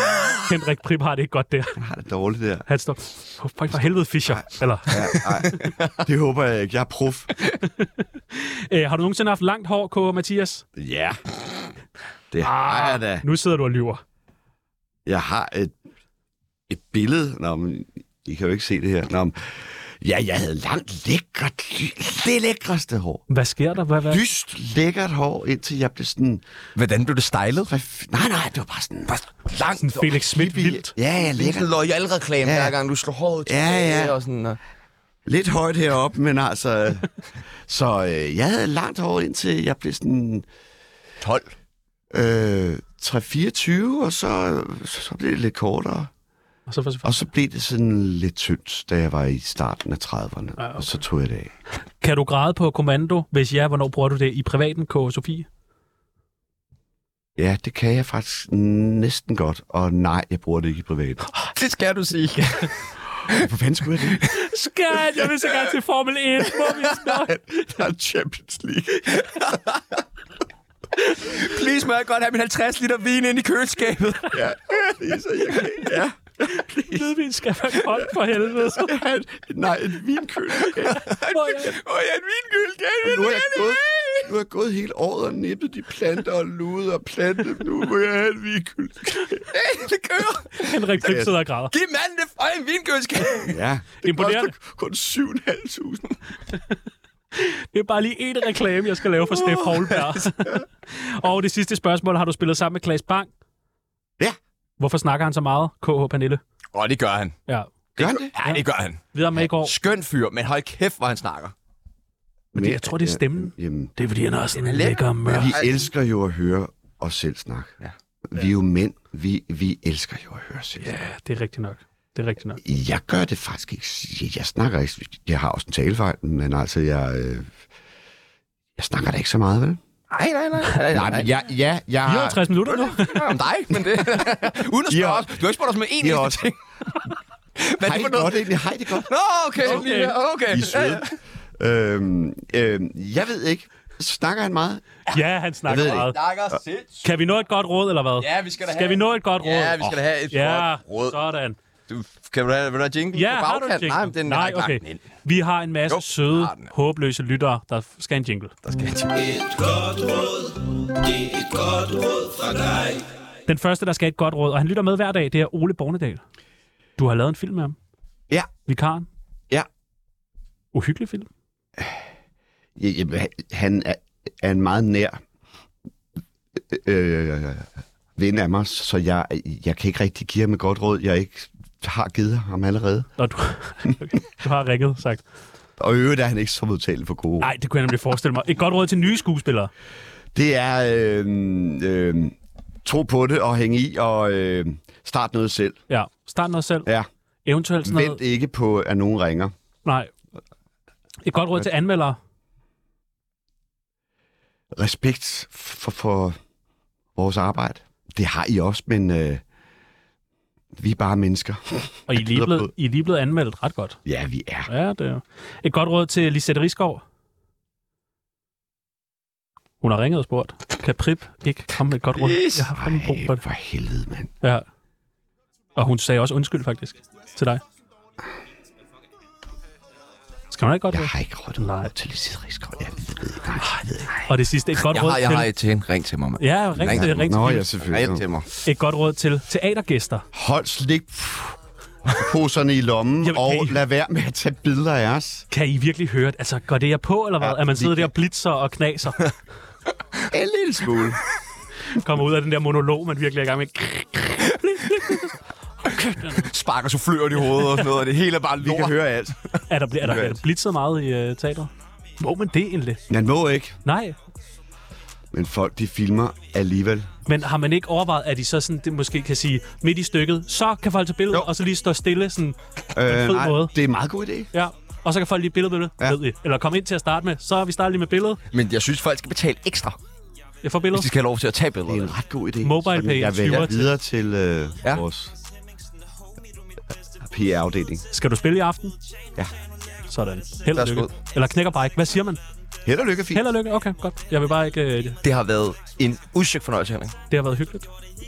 [SPEAKER 3] Henrik Prip har det ikke godt der.
[SPEAKER 2] Jeg har det dårligt der.
[SPEAKER 3] Han står, oh, for, for helvede Fischer. Eller,
[SPEAKER 2] Ja, ej, det håber jeg ikke. Jeg er prof.
[SPEAKER 3] øh, har du nogensinde haft langt hår, K. Mathias?
[SPEAKER 2] Ja. Det har jeg da.
[SPEAKER 3] Nu sidder du og lyver.
[SPEAKER 2] Jeg har et, et billede. Nå, men I kan jo ikke se det her. Nå, men, ja, jeg havde langt lækkert, ly- det lækreste hår.
[SPEAKER 3] Hvad sker der? Hvad, hvad?
[SPEAKER 2] Lyst lækkert hår, indtil jeg blev sådan...
[SPEAKER 1] Hvordan blev det stylet?
[SPEAKER 2] Nej, nej, det var bare sådan...
[SPEAKER 1] Langt.
[SPEAKER 3] Sådan Felix Schmidt vildt.
[SPEAKER 2] Ja, jeg
[SPEAKER 1] Det er
[SPEAKER 2] lækkert.
[SPEAKER 1] sådan en loyal reklame,
[SPEAKER 2] Ja.
[SPEAKER 1] hver gang du slår håret
[SPEAKER 2] Ja, ja.
[SPEAKER 1] tilbage Og sådan, øh. og...
[SPEAKER 2] Lidt højt heroppe, men altså... så øh, jeg havde langt hår indtil jeg blev sådan
[SPEAKER 1] 12.
[SPEAKER 2] øh, 3-24, og så, så blev det lidt kortere.
[SPEAKER 3] Og så forsvandt.
[SPEAKER 2] Og så blev det sådan lidt tyndt, da jeg var i starten af 30'erne,
[SPEAKER 3] Ja, okay.
[SPEAKER 2] og så tog jeg det af.
[SPEAKER 3] Kan du græde på kommando? Hvis ja, hvornår bruger du det i privaten, K. Sofie?
[SPEAKER 2] Ja, det kan jeg faktisk næsten godt, og nej, jeg bruger det ikke i privat.
[SPEAKER 1] Det skal du sige.
[SPEAKER 2] Hvor fanden skulle jeg det?
[SPEAKER 3] Skat, jeg vil så gerne til Formel 1. Må vi snakke?
[SPEAKER 2] Der er Champions League.
[SPEAKER 1] Please må jeg godt have min 50 liter vin ind i køleskabet.
[SPEAKER 2] Ja, så jeg kan ikke. Ja.
[SPEAKER 3] Hvidvin skal være koldt for helvede.
[SPEAKER 2] Nej, et vinkøl.
[SPEAKER 3] Åh, ja.
[SPEAKER 1] Åh, jeg er en vinkøleskab.
[SPEAKER 2] Nu har jeg gået, nu har jeg gået hele året og nippet de planter og ludet og plantet dem. Nu må jeg have et vinkøl.
[SPEAKER 1] Det kører.
[SPEAKER 3] Henrik Krim sidder og græder.
[SPEAKER 1] Giv manden det for en vinkøleskab.
[SPEAKER 2] Ja, det
[SPEAKER 3] Imponerende.
[SPEAKER 2] koster kun 7.500.
[SPEAKER 3] Det er bare lige én reklame, jeg skal lave for Steff Holberg. og det sidste spørgsmål. Har du spillet sammen med Klaas Bang?
[SPEAKER 2] Ja.
[SPEAKER 3] Hvorfor snakker han så meget, KH Pernille?
[SPEAKER 1] Åh, det gør han.
[SPEAKER 3] Ja.
[SPEAKER 2] Gør han det?
[SPEAKER 1] Ja, det gør han.
[SPEAKER 3] Videre med i går.
[SPEAKER 1] Skøn fyr, men hold kæft, hvor han snakker.
[SPEAKER 3] Men det- jeg tror, det er stemmen.
[SPEAKER 2] Jamen,
[SPEAKER 3] Det er fordi, han har sådan en
[SPEAKER 1] let.
[SPEAKER 3] lækker mørk.
[SPEAKER 2] vi elsker jo at høre os selv snakke.
[SPEAKER 1] Ja.
[SPEAKER 2] Vi er jo mænd. Vi, vi elsker jo at høre os selv
[SPEAKER 3] Ja, det er rigtigt nok. Det er rigtigt nok.
[SPEAKER 2] Jeg gør det faktisk ikke. Jeg- Jeg snakker ikke. Jeg har også en talefejl, men altså, jeg... øh, Jeg snakker da ikke så meget, vel?
[SPEAKER 1] Nej, nej, nej. nej,
[SPEAKER 2] Nej, men jeg... Ja, jeg
[SPEAKER 3] 54 minutter nu.
[SPEAKER 1] om dig, men det... Uden at spørge
[SPEAKER 2] Ja.
[SPEAKER 1] os. Du har ikke spurgt os med én eneste
[SPEAKER 2] Ja, også.
[SPEAKER 1] ting. Hvad er det
[SPEAKER 2] Hej,
[SPEAKER 1] for
[SPEAKER 2] det
[SPEAKER 1] noget?
[SPEAKER 2] godt, egentlig. Hej, det godt.
[SPEAKER 1] Nå, okay.
[SPEAKER 3] Okay.
[SPEAKER 1] okay.
[SPEAKER 2] I er søde. øhm, øhm, jeg ved ikke. Snakker han meget?
[SPEAKER 3] Ja, han snakker
[SPEAKER 2] Jeg ved det
[SPEAKER 3] meget.
[SPEAKER 1] Snakker sindssygt.
[SPEAKER 3] Kan vi nå et godt råd, eller hvad?
[SPEAKER 1] Ja, vi skal da
[SPEAKER 3] Skal
[SPEAKER 1] have-
[SPEAKER 3] vi nå et godt råd?
[SPEAKER 1] Ja, vi skal da have et
[SPEAKER 3] ja,
[SPEAKER 1] godt råd.
[SPEAKER 3] sådan.
[SPEAKER 1] Du, kan du have, vil du have jingle
[SPEAKER 3] Ja,
[SPEAKER 1] på
[SPEAKER 3] har du en
[SPEAKER 1] bagkanten?
[SPEAKER 3] jingle?
[SPEAKER 1] Nej, men den har
[SPEAKER 3] Nej,
[SPEAKER 1] ikke lagt
[SPEAKER 3] okay.
[SPEAKER 1] den ind.
[SPEAKER 3] Vi har en masse
[SPEAKER 1] Jo,
[SPEAKER 3] søde,
[SPEAKER 1] har den.
[SPEAKER 3] håbløse lyttere, der skal have en jingle.
[SPEAKER 1] Der skal jeg jingle.
[SPEAKER 3] Den første, der skal have et godt råd, og han lytter med hver dag, det er Ole Bornedal. Du har lavet en film med ham.
[SPEAKER 2] Ja.
[SPEAKER 3] Vikaren.
[SPEAKER 2] Ja.
[SPEAKER 3] Uhyggelig film.
[SPEAKER 2] Ja, Jamen, han er, er en meget nær øh, ven af mig, så jeg, jeg kan ikke rigtig give ham et godt råd, jeg ikke har givet ham allerede.
[SPEAKER 3] Når du, okay, du har ringet og sagt,
[SPEAKER 2] Og i øvrigt er han ikke så modtagelig for gode.
[SPEAKER 3] nej, det kunne jeg nemlig forestille mig. Et godt råd til nye skuespillere.
[SPEAKER 2] Det er øh, øh, tro på det og hænge i og øh, start noget selv.
[SPEAKER 3] Ja, start noget selv.
[SPEAKER 2] Ja.
[SPEAKER 3] Eventuelt sådan noget.
[SPEAKER 2] Vent ikke på, at nogen ringer.
[SPEAKER 3] Nej. Et godt råd til anmeldere.
[SPEAKER 2] Respekt for, for vores arbejde. Det har I også, men øh, vi er bare mennesker.
[SPEAKER 3] Og I er lige
[SPEAKER 2] lyder
[SPEAKER 3] blevet,
[SPEAKER 2] blød.
[SPEAKER 3] I er lige blevet anmeldt ret godt.
[SPEAKER 2] Ja, vi er.
[SPEAKER 3] Ja, det er Et godt råd til Lisette Riskov. Hun har ringet og spurgt, kan Prip ikke komme med et godt råd? Jeg har fandme brug for
[SPEAKER 2] Ej,
[SPEAKER 3] det.
[SPEAKER 2] for helvede, mand.
[SPEAKER 3] Ja. Og hun sagde også undskyld faktisk til dig. Skal man ikke godt
[SPEAKER 2] Jeg
[SPEAKER 3] råd?
[SPEAKER 2] har ikke råd
[SPEAKER 3] Nej. Ah,
[SPEAKER 2] Nej. til Lisette Rigsgaard. Jeg ved det ikke. Nej, jeg ved det ikke.
[SPEAKER 3] Og det sidste, et godt
[SPEAKER 1] Jeg
[SPEAKER 3] råd
[SPEAKER 1] har, jeg
[SPEAKER 3] til...
[SPEAKER 1] har et til hende. Ring til mig, mand.
[SPEAKER 3] Ja, rigtig,
[SPEAKER 1] Ring-
[SPEAKER 3] rigtig
[SPEAKER 2] Nå, ja,
[SPEAKER 3] fint.
[SPEAKER 1] Ring
[SPEAKER 2] selvfølgelig.
[SPEAKER 1] til mig.
[SPEAKER 3] Et godt råd til teatergæster.
[SPEAKER 2] Hold slik poserne i lommen,
[SPEAKER 3] Jamen,
[SPEAKER 2] og
[SPEAKER 3] kan I-
[SPEAKER 2] lad være med at tage billeder af os.
[SPEAKER 3] Kan I virkelig høre det? Altså, går det her på, eller hvad?
[SPEAKER 2] Ja,
[SPEAKER 3] at man
[SPEAKER 2] vi
[SPEAKER 3] sidder der
[SPEAKER 2] kan-
[SPEAKER 3] og blitzer og knaser,
[SPEAKER 2] En lille smule.
[SPEAKER 3] kommer ud af den der monolog, man virkelig er i gang med.
[SPEAKER 1] Sparker souffløren i hovedet og sådan noget, og det hele er bare
[SPEAKER 2] Vi
[SPEAKER 1] lort.
[SPEAKER 2] kan høre alt.
[SPEAKER 3] Er der, er der, er der blitzet meget i uh, teateret? Må man det egentlig?
[SPEAKER 2] Man må ikke,
[SPEAKER 3] Nej.
[SPEAKER 2] men folk de filmer alligevel.
[SPEAKER 3] Men har man ikke overvejet, at I så sådan, det måske kan sige midt i stykket, så kan folk tage billeder,
[SPEAKER 2] Jo.
[SPEAKER 3] og så lige stå stille sådan,
[SPEAKER 2] Øh,
[SPEAKER 3] fed måde.
[SPEAKER 2] det er en meget god idé.
[SPEAKER 3] ja, og så kan folk lige billede, billede, ja.
[SPEAKER 2] Ja.
[SPEAKER 3] ved I. Eller komme ind til at starte med, så er vi starter lige med billedet.
[SPEAKER 1] Men jeg synes, folk skal betale ekstra,
[SPEAKER 3] Jeg får
[SPEAKER 1] hvis
[SPEAKER 3] billedet.
[SPEAKER 1] de skal have lov til at tage
[SPEAKER 2] Det er
[SPEAKER 1] billeder.
[SPEAKER 2] en ret god idé.
[SPEAKER 3] Mobile
[SPEAKER 2] Som
[SPEAKER 3] pay
[SPEAKER 2] Jeg
[SPEAKER 3] 20'er
[SPEAKER 2] vælger
[SPEAKER 3] til-
[SPEAKER 2] videre til øh,
[SPEAKER 1] Ja.
[SPEAKER 2] ja. vores øh, PR-afdeling.
[SPEAKER 3] Skal du spille i aften?
[SPEAKER 2] Ja.
[SPEAKER 3] Sådan. Held og
[SPEAKER 1] Værsgo.
[SPEAKER 3] lykke. Eller knækker bare ikke. Hvad siger man?
[SPEAKER 2] Held og lykke, fint.
[SPEAKER 3] Held og lykke? Okay, godt. Jeg vil bare ikke... Øh,
[SPEAKER 1] Det har været en udsøgt fornøjelse, Henrik.
[SPEAKER 3] det har været hyggeligt.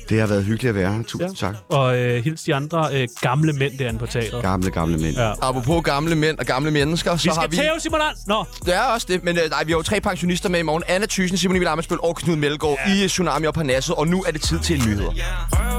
[SPEAKER 2] Det har været hyggeligt at være her. Tusind
[SPEAKER 3] Ja.
[SPEAKER 2] ja. tak.
[SPEAKER 3] Og øh, hils de andre øh, gamle mænd derinde på teateret.
[SPEAKER 2] Gamle, gamle mænd.
[SPEAKER 3] Ja.
[SPEAKER 2] Ja.
[SPEAKER 1] Apropos gamle mænd og gamle mennesker, så
[SPEAKER 3] Vi
[SPEAKER 1] har
[SPEAKER 3] skal
[SPEAKER 1] vi...
[SPEAKER 3] tæve, Simon Arn. Nå,
[SPEAKER 1] Det er også det, men øh, nej, vi har jo tre pensionister med i morgen. Anna Thysen, Simon Emil Amesbøl og Knud Melgaard ja. i øh, Tsunami og Parnasset, og nu er det tid til nyheder.
[SPEAKER 5] Ja.